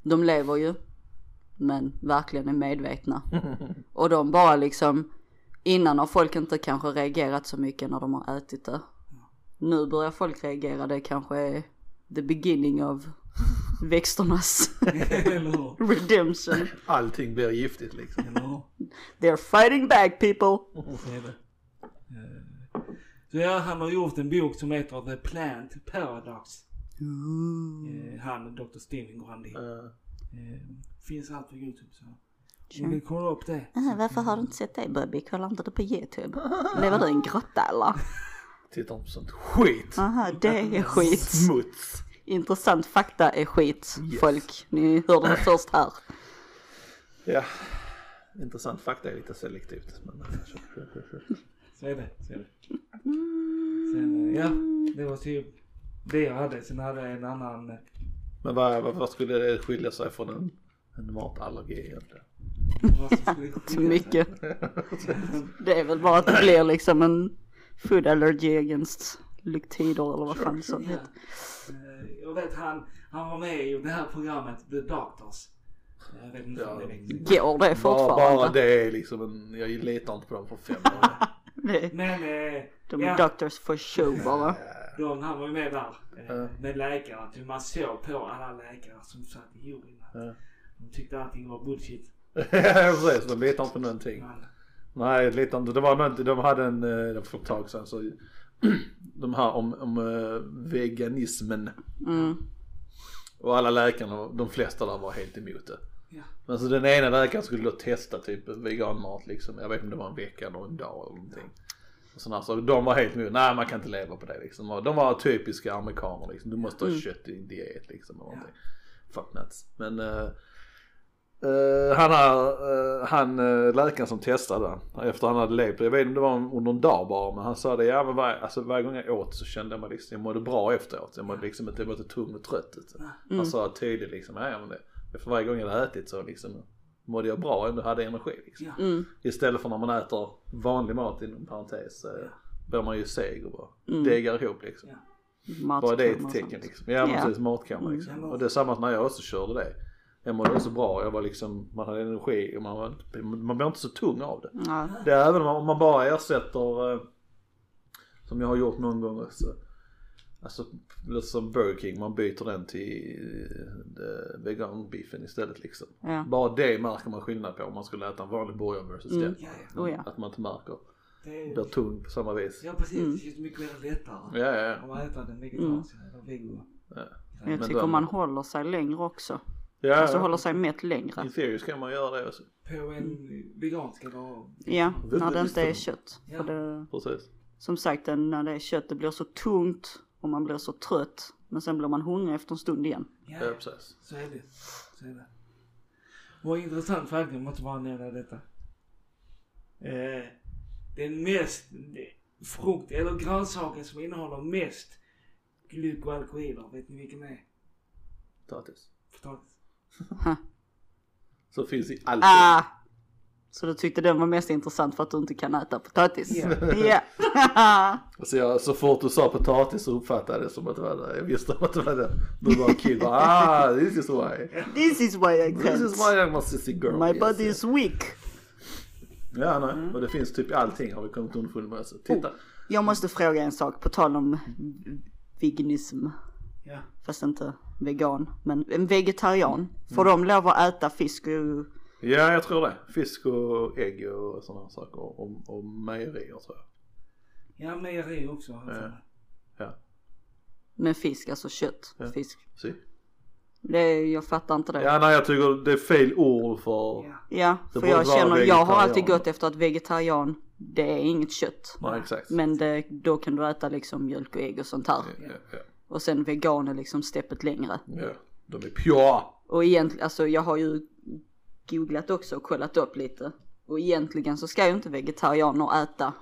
De lever ju, men verkligen är medvetna. Och de bara liksom, innan har folk inte kanske reagerat så mycket när de har ätit det. Nu börjar folk reagera, det kanske är the beginning of växternas
Eller hur?
redemption.
Allting blir giftigt liksom.
Eller hur?
They're fighting back people.
Det är det. Eh, Så ja, han har gjort en bok som heter The Plant Paradox. Eh, Han, Dr. Stephen Grandi.
Uh,
Eh, Finns allt på YouTube så.
Sure.
Om ni kollar upp det.
Ah, varför har du inte sett det Bubby? Kollar inte du på YouTube? Lever du i en grotta eller?
tittar inte på sånt skit.
Aha, det är skit.
Smuts.
Intressant fakta är skit,
Yes.
folk. Ni hörde det först här.
Ja. Intressant fakta är lite selektivt. Men... Sure, sure, sure, sure.
Så är det. Så är det.
Mm.
Sen, eh, ja, det var typ det jag hade. Sen hade jag en annan. eh,
Men vad, vad, vad skulle det skilja sig från en, en matallergi egentligen?
vad som skulle skilja
Så
sig.
mycket. Det är väl bara att det blir liksom en food allergy against lyktider eller vad fan som
Ja.
heter.
Eh, Jag vet han, han var med i det här programmet The Doctors. Jag vet inte om det
Går
Ja.
är
det
Bara, bara
fortfarande?
det är liksom en, jag litar inte på dem för fem år.
Nej,
Men eh,
De
ja,
är doctors for show bara.
de, han var ju med där. Eh,
Ja.
med läkare. Typ man såg på alla läkare som satt i juryn att
Ja.
de tyckte allting var bullshit.
Ja, precis, de litar inte på någonting.
Men,
Nej, jag litar inte. Det var någonting, de hade en, eh, det var för ett tag sedan så, de här om, om eh, veganismen.
Mm.
Och alla läkarna, de flesta där var helt emot det.
ja.
Men så den ena läkaren skulle då testa typ veganmat liksom. Jag vet inte om det var en vecka eller en dag eller någonting. Och sådana, så de var helt emot, nej man kan inte leva på det liksom. Och de var typiska amerikaner liksom. Du måste ha kött i din diet liksom. Och någonting. Fuck nuts. Men eh, Eh, han här, eh, han eh, läkaren som testade han, efter han hade levt, jag vet inte om det var under en dag bara, men han sa det, ja men var, alltså, varje gång jag åt så kände jag mig liksom, jag mådde bra efteråt. Jag mådde liksom inte, jag var inte tung och trött. Utan.
ah,
Han sa tydligt liksom, ja men det, för varje gång jag hade ätit så liksom mådde jag bra, ändå hade energi liksom.
Ja.
mm.
Istället för när man äter vanlig mat inom parentes, eh, blir man ju seg och bara degar ihop liksom.
Ja.
Bara det är ett
Matkammar
tecken
och sånt.
liksom. Ja men
Ja.
precis, matkammare liksom. Och det är samma när jag också körde det. Jag mådde också bra, jag var liksom, man hade energi och man, var, inte- man blir inte så tung av det.
Ja.
Det är även om man- om man bara ersätter, eh, som jag har gjort någon gång också. Alltså lite som Burger King, man byter den till eh, veganbiffen istället liksom.
Ja.
Bara det märker man skillnad på om man skulle äta en vanlig burgare versus den.
Ja, ja.
Oh, ja.
Att man inte märker,
Det är,
blir tung på samma vis.
ja precis, det känns mycket mer lättare.
Ja, ja,
Om
ja.
man äter den vegetariska eller vego.
ja.
Men jag
Men
tycker
de-
man håller sig längre också.
ja,
Alltså
ja.
håller sig mätt längre.
I theory ska man göra det också.
På en vegansk eller...
Ja,
Det-
när
det
det
visste
inte är
de.
kött.
Ja.
För det,
Precis.
som sagt, den- när det är kött det blir så tungt och man blir så trött. Men sen blir man hungrig efter en stund igen.
Ja, precis.
Så är det. Så är det. Vad intressant faktum, jag måste bara nämna detta. Eh, den mest det- frukt eller grönsaken som innehåller mest glykoalkohiler, vet ni vilken det är?
Potatis.
Potatis.
Så finns i allt.
Ah! Så du tyckte den var mest intressant för att du inte kan äta potatis? Ja.
Alltså jag, så fort du sa potatis så uppfattade jag det som att det var det. Jag visste att det var det. Du var kid bara, ah this is why.
This is why I
This is
can't.
why I'm a sissy girl.
My body
yes.
is Mm. weak.
Ja nej, och det finns typ i allting har vi kommit underfund med. Så titta.
Oh. Jag måste fråga en sak på tal om veganism.
Ja.
Fast inte vegan. Men en vegetarian.
Mm.
Får de lov att äta fisk och
Ja jag tror det. Fisk och ägg och sådana saker. Och, och mejerier tror jag.
Ja, mejeri också har jag för mig.
Ja.
med fisk, alltså kött, fisk.
See?
Det, är- jag fattar inte det. Ja,
Ja nej jag tycker det är fel ord för.
Ja.
Det
för
borde
jag
vara
känner, jag har alltid
vegetarian.
gått efter att vegetarian, det är inget kött.
Nej exakt.
Men det, då kan du äta liksom mjölk och ägg och sånt här.
Ja, ja,
Och sen vegan är liksom steppet längre.
ja. De är pure.
Och egentligen, alltså jag har ju googlat också och kollat upp lite. Och egentligen så ska ju inte vegetarianer äta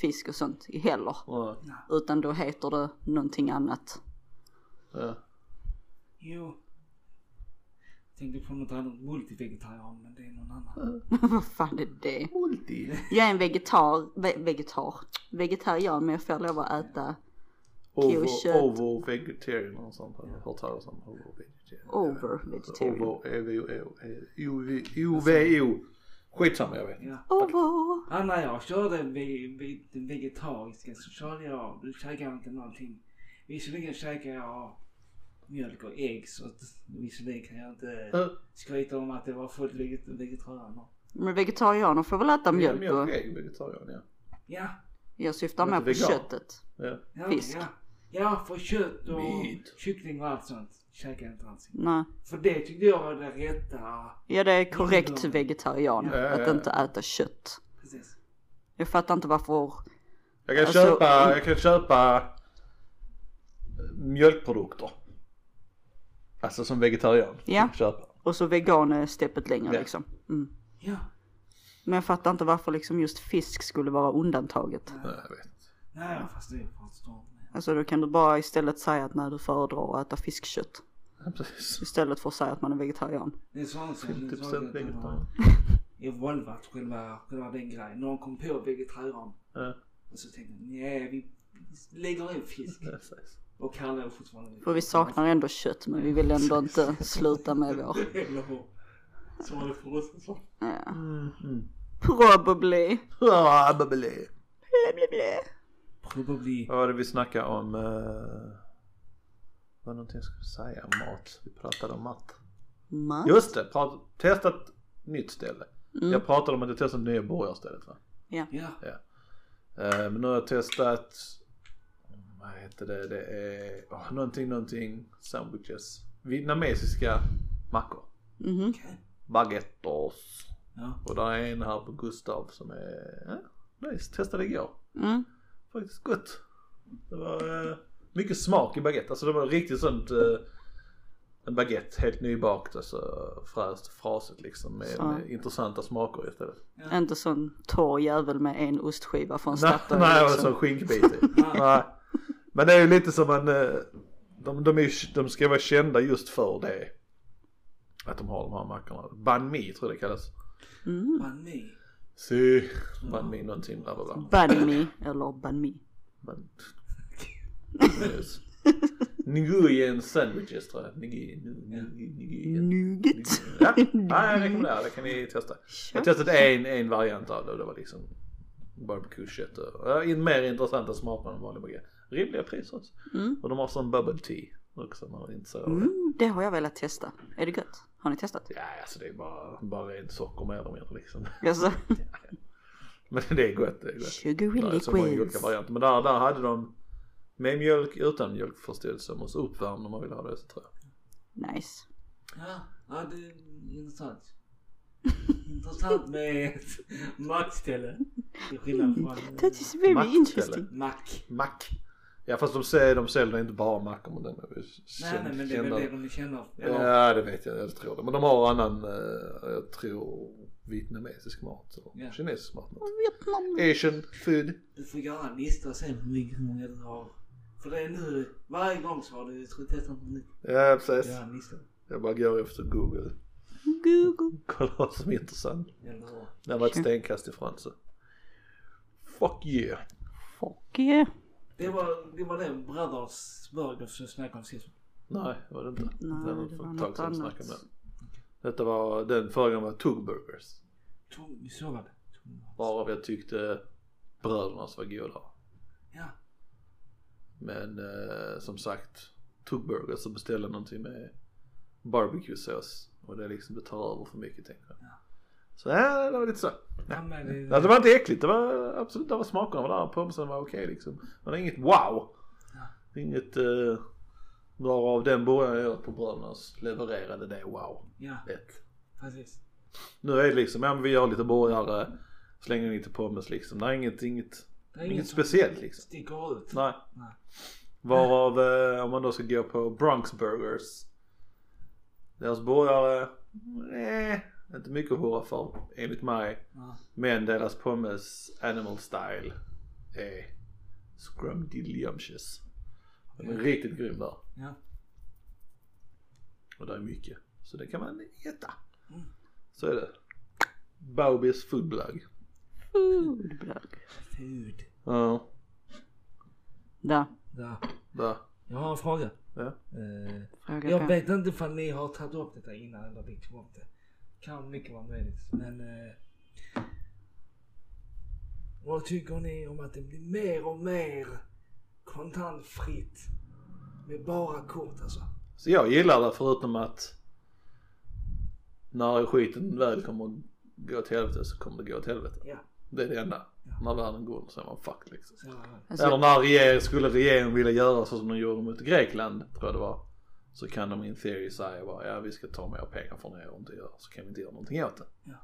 fisk och sånt heller.
Ja,
Utan då heter det någonting annat.
ja.
Jo. Jag tänkte på något annat multivegetarian, men det är någon annan.
Vad fan är det? Jag är en vegetar, ve, vegetar, vegetarian men jag får lov att äta
Ovo,
Kött.
ovo vegetarian och sånt har jag hört talas om. Ovo vegetarian.
over vegetarian.
Ovo, evo, evo,
Alltså-
ovo. Skitsamma jag vet.
Ja.
Ovo.
Ja, när jag körde ve- ve- den vegetariska så körde jag, du käkade inte någonting. Visserligen käkade jag mjölk och ägg så att visserligen kan jag inte
Eh,
skryta om att det var fullt veget- vegetarianer.
Men vegetarianer får väl äta mjölk
Mjölk
och
är ju vegetarian ja.
Ja,
jag syftar
Men
mer
inte
på
vegan.
köttet.
ja.
ja,
Fisk.
ja. Ja, för kött och
Meat.
kyckling och allt sånt käkade jag inte alls.
Nej.
För det tyckte jag var det rätta.
Ja det är korrekt
Ja.
vegetarian
Ja, ja,
att
ja.
inte äta kött.
Precis.
Jag fattar inte varför.
Jag kan
Alltså,
köpa, jag kan köpa eh, mjölkprodukter. Alltså som vegetarian.
Ja.
Jag kan Köpa.
Och så vegan är steppet längre
Ja.
liksom. Mm.
Ja,
Men jag fattar inte varför liksom just fisk skulle vara undantaget.
Nej, jag vet.
nej fast det förstår jag.
Alltså då kan du bara istället säga att när du föredrar att äta fiskkött.
Ja, Precis.
Istället för att säga att man är vegetarian.
Det är sånt som...
50% vegetarian.
Evolvat själva, själva den grejen. Någon kom på vegetarian.
Ja,
Och så tänkte jag, nej vi lägger in fisk.
precis.
Och kallar det fortfarande
För vi saknar ändå kött men vi vill ändå inte sluta med vår.
Eller hur? Så var det för oss så.
Probably.
Ah, Mm, bubbly.
Blä, blä, blä.
Probably.
Vad var det vi snackade om? eh, Vad var någonting jag skulle säga? Mat. Vi pratade om mat.
Mat?
Just det, prat, testa ett nytt ställe.
Mm.
Jag pratade om att jag testade nya borgarstället va?
Ja.
Eh, Men nu har jag testat, vad heter det, det är åh, någonting, någonting sandwiches. Vietnamesiska mackor.
Mhm.
Okej.
Baguettes.
Ja.
Och där är en här på Gustav som är, ja, nice, testade igår.
Mm.
Faktiskt gott. Det var eh, mycket smak i baguette, alltså det var riktigt sånt eh, en baguette helt nybakt och så fräst frasigt liksom med,
Så.
med intressanta smaker istället.
Inte sån torr jävel med en ostskiva från
Nej,
Statoil.
nej alltså. och
liksom.
så skinkbit i. Nej. Men det är ju lite som en, eh, de, de, är, ju- de ska vara kända just för det. Att de har de här mackorna. Banh mi tror jag det kallas.
Mm.
Banh mi.
Si, banh mi någonting bla bla bla.
Banh mi, eller banh mi.
Men... Yes. Nguyen sandwiches tror jag. Nguyen, Nguyen, Nguyen.
Nugget.
Ja, ja, jag rekommenderar det. kan ni testa. Jag har testat en, en variant av det och det var liksom barbecue-kött och ja, in- mer intressanta smaker än vanlig baguette. Rimliga priser också. Och de har sån bubble tea också om man är intresserad av det.
Mm, det har jag velat testa. Är det gött? Har ni testat?
Ja, alltså det är bara, bara rent socker mer eller mindre liksom.
Alltså,
Men det är gott, det är gott.
sugary
Där är så många olika
liquids.
varianter. Men där, där hade de med mjölk, utan mjölk förstod det som. Och så uppvärmd om man vill ha det så tror jag.
Nice.
Ja, ja det är intressant. Intressant med ett mackställe. Till skillnad från eh,
That is very
Mack,
interesting.
eller?
mack.
Mack. Ja fast de säljer, de säljer inte bara mackor men den är ju
Nej, nej, men det är väl
känd-
det de är kända av. Eller?
Ja det vet jag, jag tror det. Men de har annan, eh, jag tror vietnamesisk mat. Och
Ja.
Kinesisk mat. Asian food.
Du får göra en lista sen hur mycket- hur många du har. För det är nu, varje gång så har du testat något nytt.
Ja precis.
Göra en lista.
Jag bara går efter google.
Google.
Kolla vad som är intressant.
Eller hur?
När var ett stenkast ifrån så. Fuck you.
Fuck yeah.
Det var det, var det Brothers Burgers som snackade om sist.
Nej det var det inte.
Nej, det
för
var
ett
något
tag sedan vi
annat.
snackade om det. Detta var, den förra gången var Tug Burgers.
Tom, så var det. Tom.
Varav jag tyckte brödernas var goda.
Ja.
Men eh, som sagt, tuggburgare så beställer någonting med barbecuesås och det liksom det tar över för mycket tänker jag. Så ja, det var lite så.
ja men det,
Nej, det var inte äckligt, det var absolut, det var smakerna var där, pomsen var okej liksom. Men det är inget wow! Inget eh, varav den början jag gjort på brödernas levererade det wow.
Ja,
Lätt.
precis.
Nu är det liksom, ja men vi gör lite burgare, slänger in lite pommes liksom. Det är inget, inget,
Det är
inget
som
speciellt liksom.
Sticker ut.
Nej.
Nej.
Varav eh, om man då ska gå på Bronx Burgers. Deras burgare, nej, inte mycket att hurra för enligt mig.
Ja.
Men deras pommes animal style är scrumdiddlyumptious. Den är riktigt grym där.
Ja.
Och det är mycket. Så det kan man äta. Så är det. Baubis foodblog.
Food blog.
Food.
Ja,
Där,
Ja.
där.
Jag har en fråga.
Ja.
Eh,
fråga
jag
på.
vet inte ifall ni har tagit upp detta innan eller vi tog upp det. Kan mycket vara möjligt. Men eh, vad tycker ni om att det blir mer och mer kontantfritt med bara kort alltså?
Så jag gillar det förutom att när skiten väl kommer att gå till helvete så kommer det gå till helvete.
Ja,
Det är det enda.
Ja.
När världen går under så är man fucked liksom.
så är det.
Eller
Alltså,
när regering, skulle regeringen vilja göra så som de gjorde mot Grekland, tror jag det var. Så kan de in theory säga bara, ja vi ska ta mer pengar från er och inte göra, så kan vi inte göra någonting åt det.
Ja.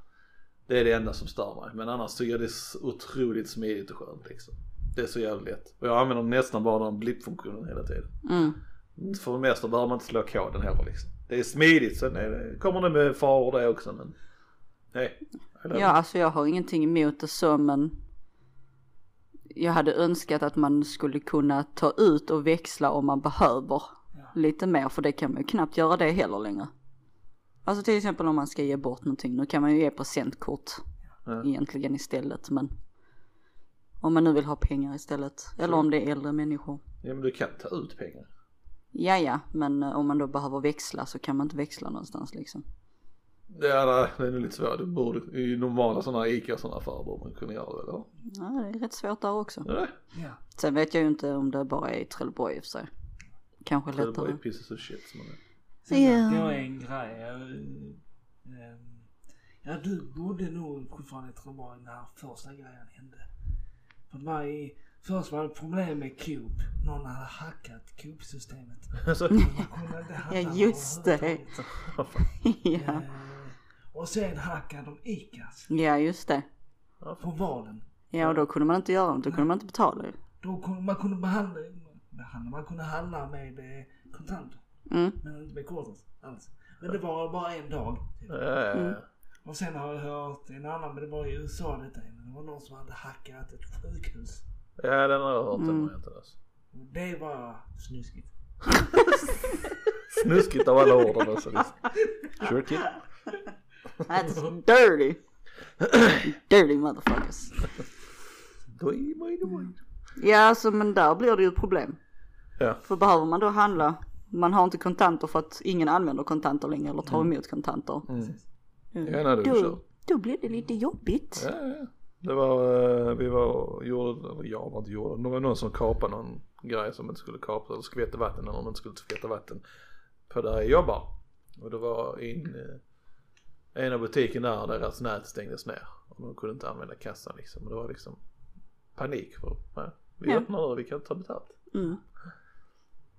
Det är det enda som stör mig. Men annars tycker jag det är så otroligt smidigt och skönt liksom. Det är så jävligt lätt. Och jag använder nästan bara den blippfunktionen hela tiden.
mm.
För det mesta behöver man inte slå koden heller liksom. Det är smidigt, sen är det, kommer det med faror det också men nej. Eller-
Ja, alltså jag har ingenting emot det så men jag hade önskat att man skulle kunna ta ut och växla om man behöver lite mer för det kan man ju knappt göra det heller längre. Alltså till exempel om man ska ge bort någonting, nu kan man ju ge presentkort
Ja.
egentligen istället men om man nu vill ha pengar istället eller om det är äldre människor.
ja men du kan ta ut pengar.
Ja, ja, men eh, om man då behöver växla så kan man inte växla någonstans liksom.
Ja nej, det är nog lite svårt. Du borde, I normala sådana här ICA och sådana affärer borde man kunna göra det eller?
Ja, det är rätt svårt där också.
Ja,
Ja.
Sen vet jag ju inte om det bara är i Trelleborg i och för sig. Kanske
det är bara
lättare.
ett pieces of shit som man är.
Sen
Ja.
det var en grej. Jag, eh, ja, du bodde nog fortfarande i Trelleborg när första grejen hände. För det var i, först var det problem med Coop. Någon hade hackat Coop-systemet.
Alltså,
Man kunde inte handla
Ja, just det.
överhuvudtaget.
ja.
Eh, Och sen hackade de ICAs
ja, just det.
på valen.
Ja, och då kunde man inte göra något, då kunde man inte betala ju.
Då kunde, man kunde behandla, behandla, man kunde handla med eh, kontanter.
Mm.
Men inte med kortet alls. Men det var bara en dag. Typ.
Eh,
Mm.
Och sen har jag hört en annan, men det var i USA detta. Men det var någon som hade hackat ett sjukhus.
Ja den har jag hört
Mm.
den var jag inte alls.
Och det var snuskigt.
Snuskigt av alla orden alltså. Liksom. Sure kid.
That's dirty. dirty motherfuckers.
Doj, doj, doj.
Ja, alltså, men där blir det ju ett problem.
Ja.
För behöver man då handla, man har inte kontanter för att ingen använder kontanter längre eller tar emot kontanter.
Mm. Ja, nej, det är
Då,
kört.
då blir det lite jobbigt.
Ja, ja. Det var, eh, vi var, gjorde, eller jag var inte gjorde, det var någon som kapade någon grej som inte skulle kapas eller skvätte vatten eller om inte skulle skvätta vatten på där jag jobbar. Och det var in, eh, en av butiken där deras nät stängdes ner och de kunde inte använda kassan liksom. Och det var liksom panik för, nej, vi
Ja.
öppnar nu, vi kan inte ta betalt.
Mm.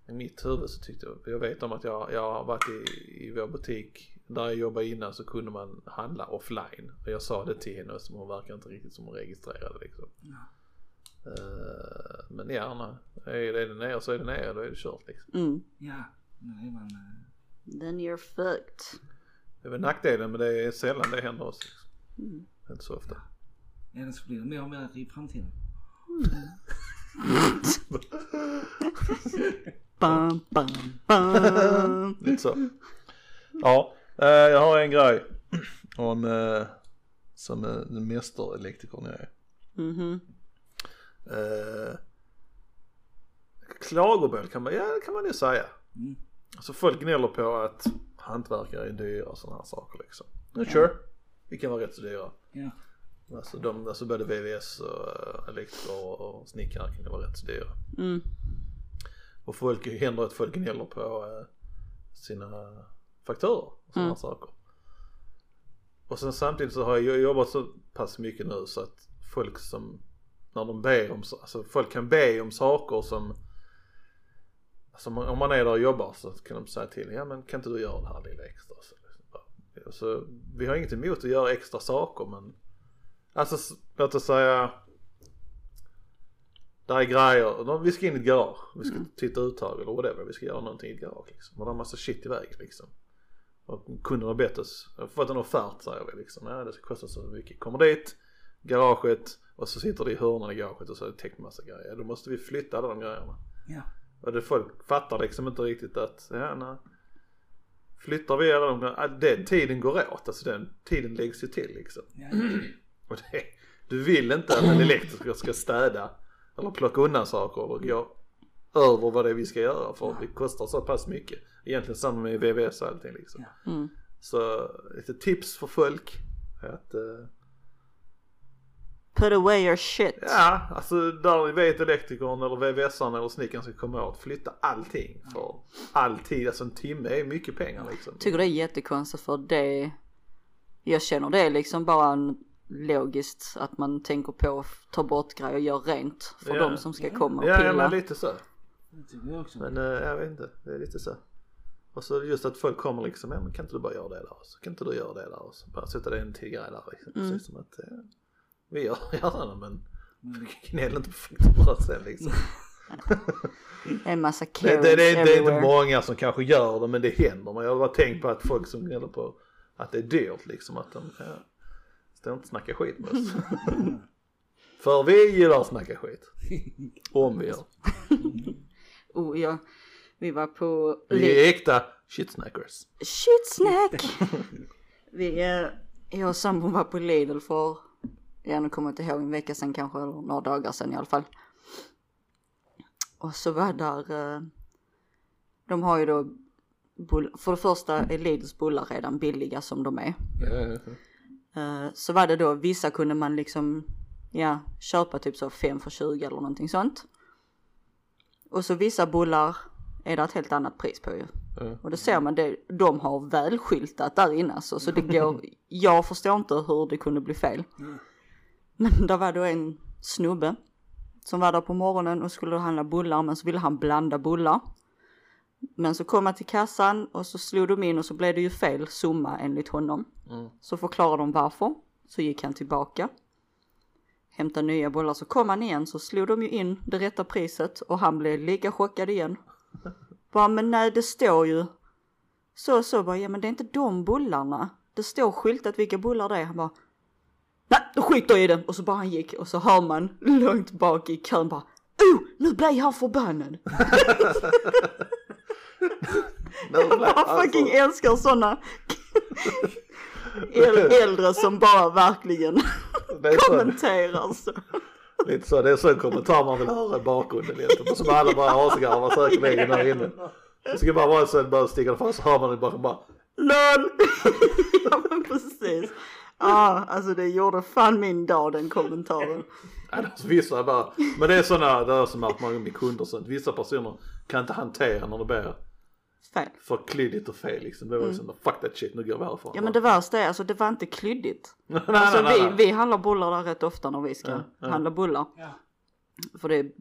I mitt huvud så tyckte jag, jag vet om att jag, jag har varit i, i vår butik där jag jobbade innan så kunde man handla offline. Och jag sa det till henne som hon verkar inte riktigt som hon registrerade liksom. Eh, men gärna, är det nere så är det nere, då är det kört liksom.
Mm.
Ja, nu är man... eh,
Then you're fucked.
Det är väl nackdelen men det är sällan det händer oss. Liksom.
Mm.
Inte så ofta.
Eller så blir det mer och mer i framtiden.
Bam, bam, bam.
Lite så. Ja, eh, jag har en grej om eh, som eh, den mästerelektrikern jag är.
Mhm.
Eh, klagomål kan man, ja, det kan man ju säga.
Mm.
Alltså folk gnäller på att hantverkare är dyra och sådana här saker liksom. Ja, sure, vi kan vara rätt så dyra.
Ja.
Alltså, de, alltså både VVS och eh, elektriker och, och snickare kan ju vara rätt så dyra.
Mm.
Och folk händer att folk gnäller på eh, sina fakturor och sådana
Mm.
saker. Och sen samtidigt så har jag jobbat så pass mycket nu så att folk som, när de ber om, sa- alltså folk kan be om saker som, alltså om man- om man är där och jobbar så kan de säga till, ja men kan inte du göra det här lilla extra? Så, liksom bara, så vi har inget emot att göra extra saker men, alltså s- låt oss säga, där är grejer, de- vi ska in i ett garage, vi ska titta uttag eller whatever, vi ska göra någonting i ett garage liksom. Och det är en massa shit i väg liksom. Och kunden har bett oss, fått en offert säger vi liksom, ja det ska kosta så mycket. Kommer dit, garaget och så sitter det i hörnan i garaget och så är det täckt massa grejer. Ja, Då måste vi flytta alla de grejerna.
Ja.
Och det folk fattar liksom inte riktigt att, ja nej. Flyttar vi alla de grejerna, ja, den tiden går åt, alltså den tiden läggs ju till liksom.
Ja.
Och det, du vill inte att en elektriker ska städa eller plocka undan saker och gå över vad det är vi ska göra för det kostar så pass mycket. Egentligen samma med VVS och allting liksom.
Mm.
Så lite tips för folk. är Att, eh,
Put away your shit.
ja, alltså där vet elektrikern eller VVSaren eller snickaren ska komma åt, flytta allting. För alltid, alltså en timme är mycket pengar liksom.
tycker det är jättekonstigt för det Jag känner det är liksom bara en logiskt att man tänker på att ta bort grejer och göra rent för
Ja.
de som ska komma och
Ja, ja,
pilla.
men lite så.
Det tycker jag också.
Men eh, jag vet inte, det är lite så. Och så just att folk kommer liksom, ja, men kan inte du bara göra det där? Och Så kan inte du göra det där? Och så bara sätta dig en till grej där. Liksom. Precis som att eh, vi gör gärna men gnäll inte på fakturan sen liksom.
Det är en massa
Det,
Karens
det, det, är- det är inte
everywhere.
många som kanske gör det men det händer. Men jag har bara tänkt på att folk som gnäller på att det är dyrt liksom att de ja, står inte och snackar skit med oss. För vi gillar att snacka skit. Om vi gör.
oh, ja. Vi var på
Vi är äkta shitsnackers.
Shit snack! vi, eh, jag och sambon var på Lidl för, ja nu kommer jag inte ihåg, en vecka sedan kanske eller några dagar sedan i alla fall. Och så var där, eh, de har ju då, bull- för det första är Lidls bullar redan billiga som de är.
Eh,
Eh, så var det då, vissa kunde man liksom, ja, köpa typ så 5 för 20 eller någonting sånt. Och så vissa bullar är det ett helt annat pris på ju.
eh.
Och det ser man, det, de har välskyltat där inne alltså, så det går, jag förstår inte hur det kunde bli fel.
Mm.
Men där var då en snubbe som var där på morgonen och skulle handla bullar men så ville han blanda bullar. Men så kom han till kassan och så slog de in och så blev det ju fel summa enligt honom.
Mm.
Så förklarade de varför, så gick han tillbaka. Hämtade nya bullar, så kom han igen så slog de ju in det rätta priset och han blev lika chockad igen. Bara, men nej det står ju. Så och så bara, ja men det är inte de bullarna. Det står skyltat vilka bullar det är. Han bara, nej då skiter jag i det. Och så bara han gick och så hör man långt bak i kön bara, oh nu blir han förbannad. Jag
alltså,
bara fucking älskar sådana äldre som bara verkligen
Det är så,
kommenterar så.
lite så, det är så en kommentar man vill höra i bakgrunden egentligen. Och Som alla bara asgarvar säkerligen där inne. Det ska bara vara en sån bara sticker fast så hör man det bara, bara
LOL! ja men precis. Ja, ah, alltså det gjorde fan min dag den kommentaren.
nej, alltså, vissa är bara, men det är sådana där som att man med kunder och sånt. Vissa personer kan inte hantera när det blir
Fan.
för klyddigt och fel liksom. Det var liksom, fuck that shit, nu går vi härifrån.
Mm. Ja men det värsta är alltså det var inte klyddigt.
nej,
Alltså
nej, nej,
vi, vi handlar bullar där rätt ofta när vi ska handla bullar.
Ja.
För det är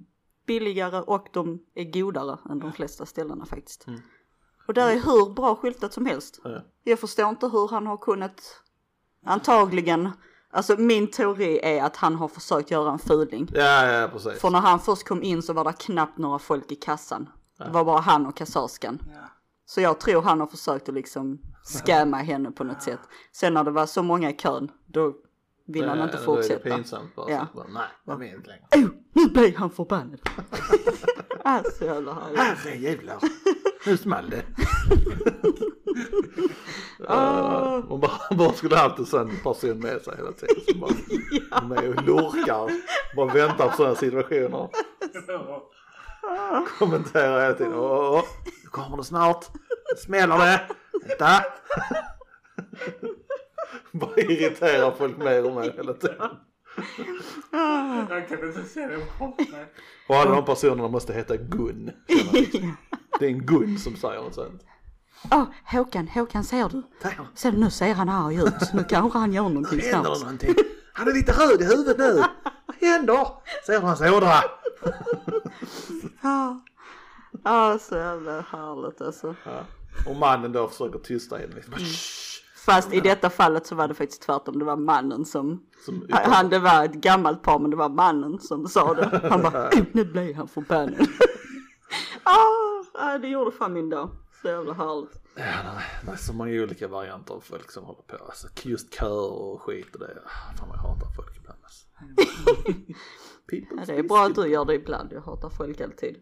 billigare och de är godare än de flesta ställena faktiskt. Och där är hur bra skyltat som helst.
nej. Mm. Ja.
Jag förstår inte hur han har kunnat antagligen, alltså min teori är att han har försökt göra en fuling.
Ja, ja, precis.
För när han först kom in så var det knappt några folk i kassan. Det var bara han och kassörskan.
Ja.
Så jag tror han har försökt att liksom skämma henne på något sätt. Sen när det var så många i kön, då vill han
Ja,
inte
då
fortsätta.
Är det pinsamt bara.
Ja.
Så att bara, nej, jag vill inte längre.
Oh, nu blir han förbannad. alltså jävla härligt.
Herrejävlar, nu small det.
Ah.
Man Eh, bara, bara skulle haft en sån person med sig hela tiden som bara är med och lurkar. Bara väntar på sådana situationer. Kommenterar hela tiden. Åh, åh, åh, nu kommer det snart. Nu smäller det. Vänta. Bara irriterar folk mer och mer hela tiden.
Ah.
Jag kan inte se det framför mig.
Och alla de personerna måste heta Gun. Det är en Gun som säger något sånt.
Åh, Ah, Håkan, Håkan ser du? Ser du, nu ser han arg ut. Nu kanske han gör någonting snart.
någonting? Han är lite röd i huvudet nu. Vad händer? Ser du hans ådra?
Ja, ah, så jävla härligt alltså.
Ja. Och mannen då försöker tysta henne. Liksom. bara, "Shh."
Fast i detta fallet så var det faktiskt tvärtom. Det var mannen som...
Som,
Han, det var ett gammalt par men det var mannen som sa det. Han bara, "Oh, nu blev han förbannad. ah, ah, det gjorde fan min dag. Så jävla härligt.
Nej, så många olika varianter av folk som håller på. Alltså, just köer och skit och det. Ah, Fan vad jag hatar folk ibland. Alltså. People
Ja, det är bra att du gör det ibland. Jag hatar folk alltid.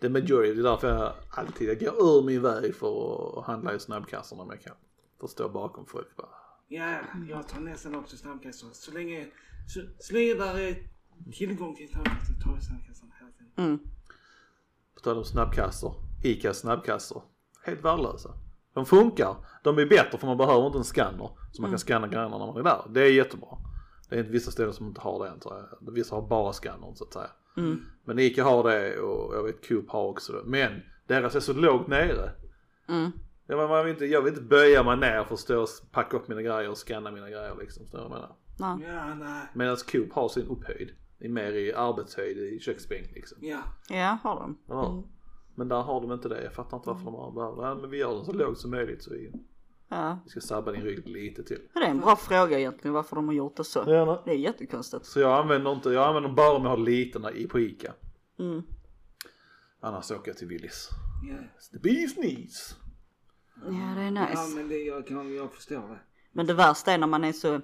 The majority, det är därför jag alltid jag går ur min väg för att handla i snabbkassorna om jag kan. För att stå bakom folk bara.
Ja, jag tar nästan också snabbkassor. Så länge, så, så länge där är tillgång till snabbkassor tar jag snabbkassan hela tiden.
Mm,
På tal om snabbkassor. Icas snabbkassor. Helt värdelösa. De funkar. De är bättre för man behöver inte en scanner. Så man kan scanna grejerna när man är där. Det är jättebra. Det är inte vissa ställen som inte har det antar jag. Vissa har bara scannern så att säga. Men Ica har det och jag vet Coop har också det. Men deras är så lågt nere.
Mm.
Jag, menar, man vill inte, jag vill inte böja mig ner för att stå och packa upp mina grejer och scanna mina grejer liksom. Förstår du vad jag menar?
Ja.
Ja, nej.
Medan Coop har sin upphöjd. Det är mer i arbetshöjd i köksbänk liksom.
Ja.
Ja, har de.
Ja. Men där har de inte det. Jag fattar inte varför de har bara, nej men vi gör den så låg som möjligt så vi,
Ja.
vi ska sabba din rygg lite till.
Men Det är en bra fråga egentligen varför de har gjort det så.
Gärna.
Det är jättekonstigt.
Så jag använder inte, jag använder bara om jag har liten i- på Ica.
Mm.
Annars åker jag till Willys.
ja.
It's The beef needs.
Ja, det är
ja
nice.
men det, jag, kan, jag förstår det.
Men det värsta är när man är så,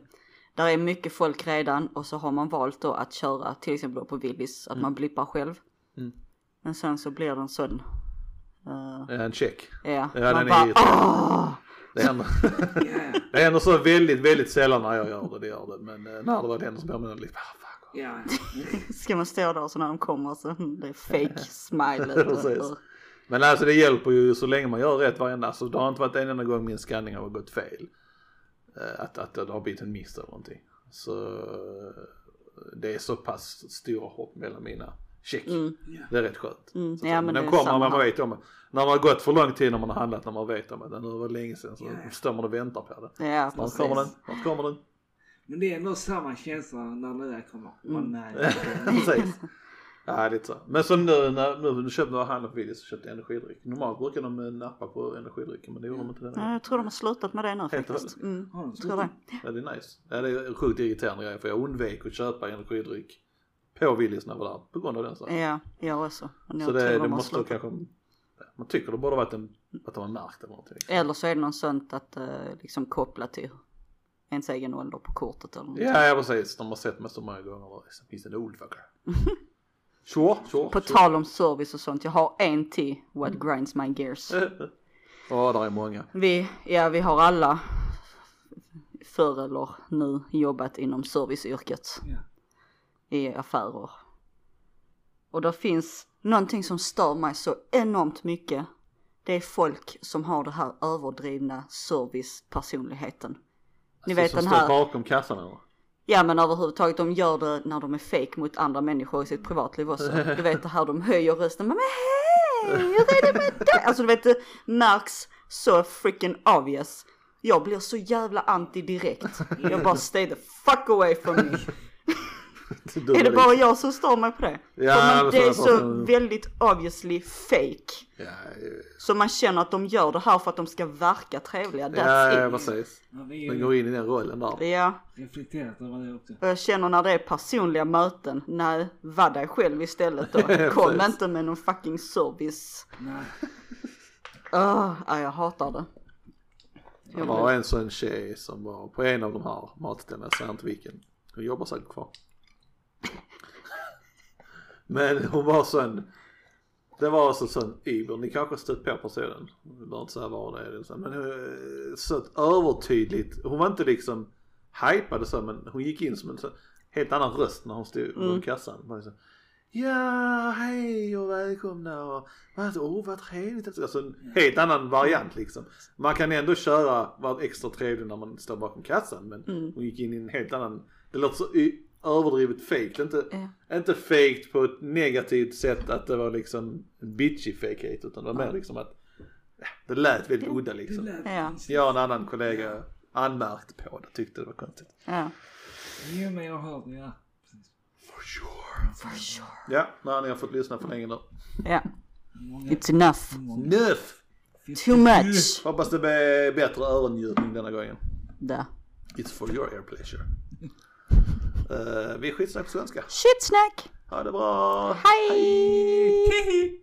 där är mycket folk redan och så har man valt då att köra till exempel på Willys, att man blippar själv.
Mm.
Men sen så blir det en sån, eh,
Eh, En check.
ja,
Ja,
man
den är
bara
ju-
åh!
Det händer,
Ja,
det händer så väldigt, väldigt sällan när jag gör det, det gör det. Men eh, när det väl händer så blir man lite, ah, fuck.
ja. Mm.
Ska man stå där och så när de kommer så mm, det är fake smile.
Precis. Men alltså det hjälper ju så länge man gör rätt varenda, alltså det har inte varit en enda gång min scanning har gått fel. Eh, Att, att det har blivit en miss eller någonting. Så eh, det är så pass stora hopp mellan mina check. Det är rätt skönt.
Mm,
Så att
ja,
säga.
men
men
det
de
är
kommer
samma
när man
här.
vet om När man har gått för lång tid när man har handlat, när man vet om det. Nu var det länge sedan så står man och väntar på det.
Ja,
Snart kommer den,
precis.
snart kommer den.
Men det är nog samma känsla när Lea kommer. Åh nej.
Precis. Ja, lite så. Men så nu när nu köpte jag handlade på Willys så köpte jag energidryck. Normalt brukar de eh, nappa på energidrycken men det gjorde de inte den här
Ja, jag tror de har slutat med det nu
Helt och
faktiskt. Mm,
Har de
tror det.
Ja det är nice. Ja det är en sjukt irriterande grej för jag undvek att köpa energidryck på Willys när jag var där på grund av den saken.
Ja, jag också. Men jag
Så
tror
det,
de
det
Eh, har
måste
slutat.
kanske Man tycker det borde varit en, att de har märkt eller någonting. liksom.
Eller så är det någon sånt att eh, liksom koppla till ens egen ålder på kortet eller något.
Ja, ja precis. De har sett mig så många gånger. Liksom. He's an old fucker. Sure, sure.
På
sure.
tal om service och sånt, jag har en till what
Mm.
grinds my gears.
Ja, där är många.
Vi, ja vi har alla förr eller nu jobbat inom serviceyrket
Ja.
i affärer. Och det finns någonting som stör mig så enormt mycket. Det är folk som har det här överdrivna servicepersonligheten. Ni vet
Alltså, som
den
står
här,
bakom kassan eller?
ja men överhuvudtaget de gör det när de är fake mot andra människor i sitt privatliv också. Du vet det här de höjer rösten, men hej, hur är det med dig? Alltså du vet det märks så freaking obvious. Jag blir så jävla anti direkt. Jag bara stay the fuck away from me. Är det bara jag som står mig på det?
Ja,
För man,
det
det är
står jag på.
så väldigt obviously fake.
Ja, ja,
Så man känner att de gör det här för att de ska verka trevliga.
ja,
That's
ja,
it.
precis.
Ja, vi
Den
är
går
ju
in i den rollen där.
Ja,
reflekterat över det också.
och jag känner när det är personliga möten, nej, var dig själv istället då. Kom
Precis.
inte med någon fucking service.
Nej.
Åh, nej, jag hatar det.
Det var en sån tjej som var på en av de här matställena, jag säger inte vilken. Hon jobbar säkert kvar. Men hon var sån, det var alltså sån iver, ni kanske har stött på personen. Vi behöver inte säga vad det är. det är så här, Men eh, så ett övertydligt, hon var inte liksom hypad och så men hon gick in som en sån, helt annan röst när hon stod runt kassan. Hon var liksom, Ja, hej och välkomna och vad, oh, vad trevligt. att-" Alltså en helt annan variant liksom. Man kan ändå köra, vara extra trevlig när man står bakom kassan men
Mm.
hon gick in i en helt annan, det låter så y- överdrivet fejkt. Inte,
Mm.
inte fejkt på ett negativt sätt att det var liksom en bitchy fejkhet utan det var mer liksom att ja, det lät väldigt udda
Det
liksom.
lät
Ja.
konstigt.
Jag och en annan kollega anmärkte på det, tyckte det var konstigt.
Ja.
Jo men jag har hört det ja. Precis.
For sure. For sure. Ja, nej, ni har fått lyssna för länge nu.
ja,
Många,
it's enough.
många.
Nuff!
Too much.
Hoppas det blir bättre öronnjutning denna gången.
Där.
It's for your ear pleasure. Eh, vi är skitsnack på svenska.
Shitsnack!
Ha det bra!
Hej!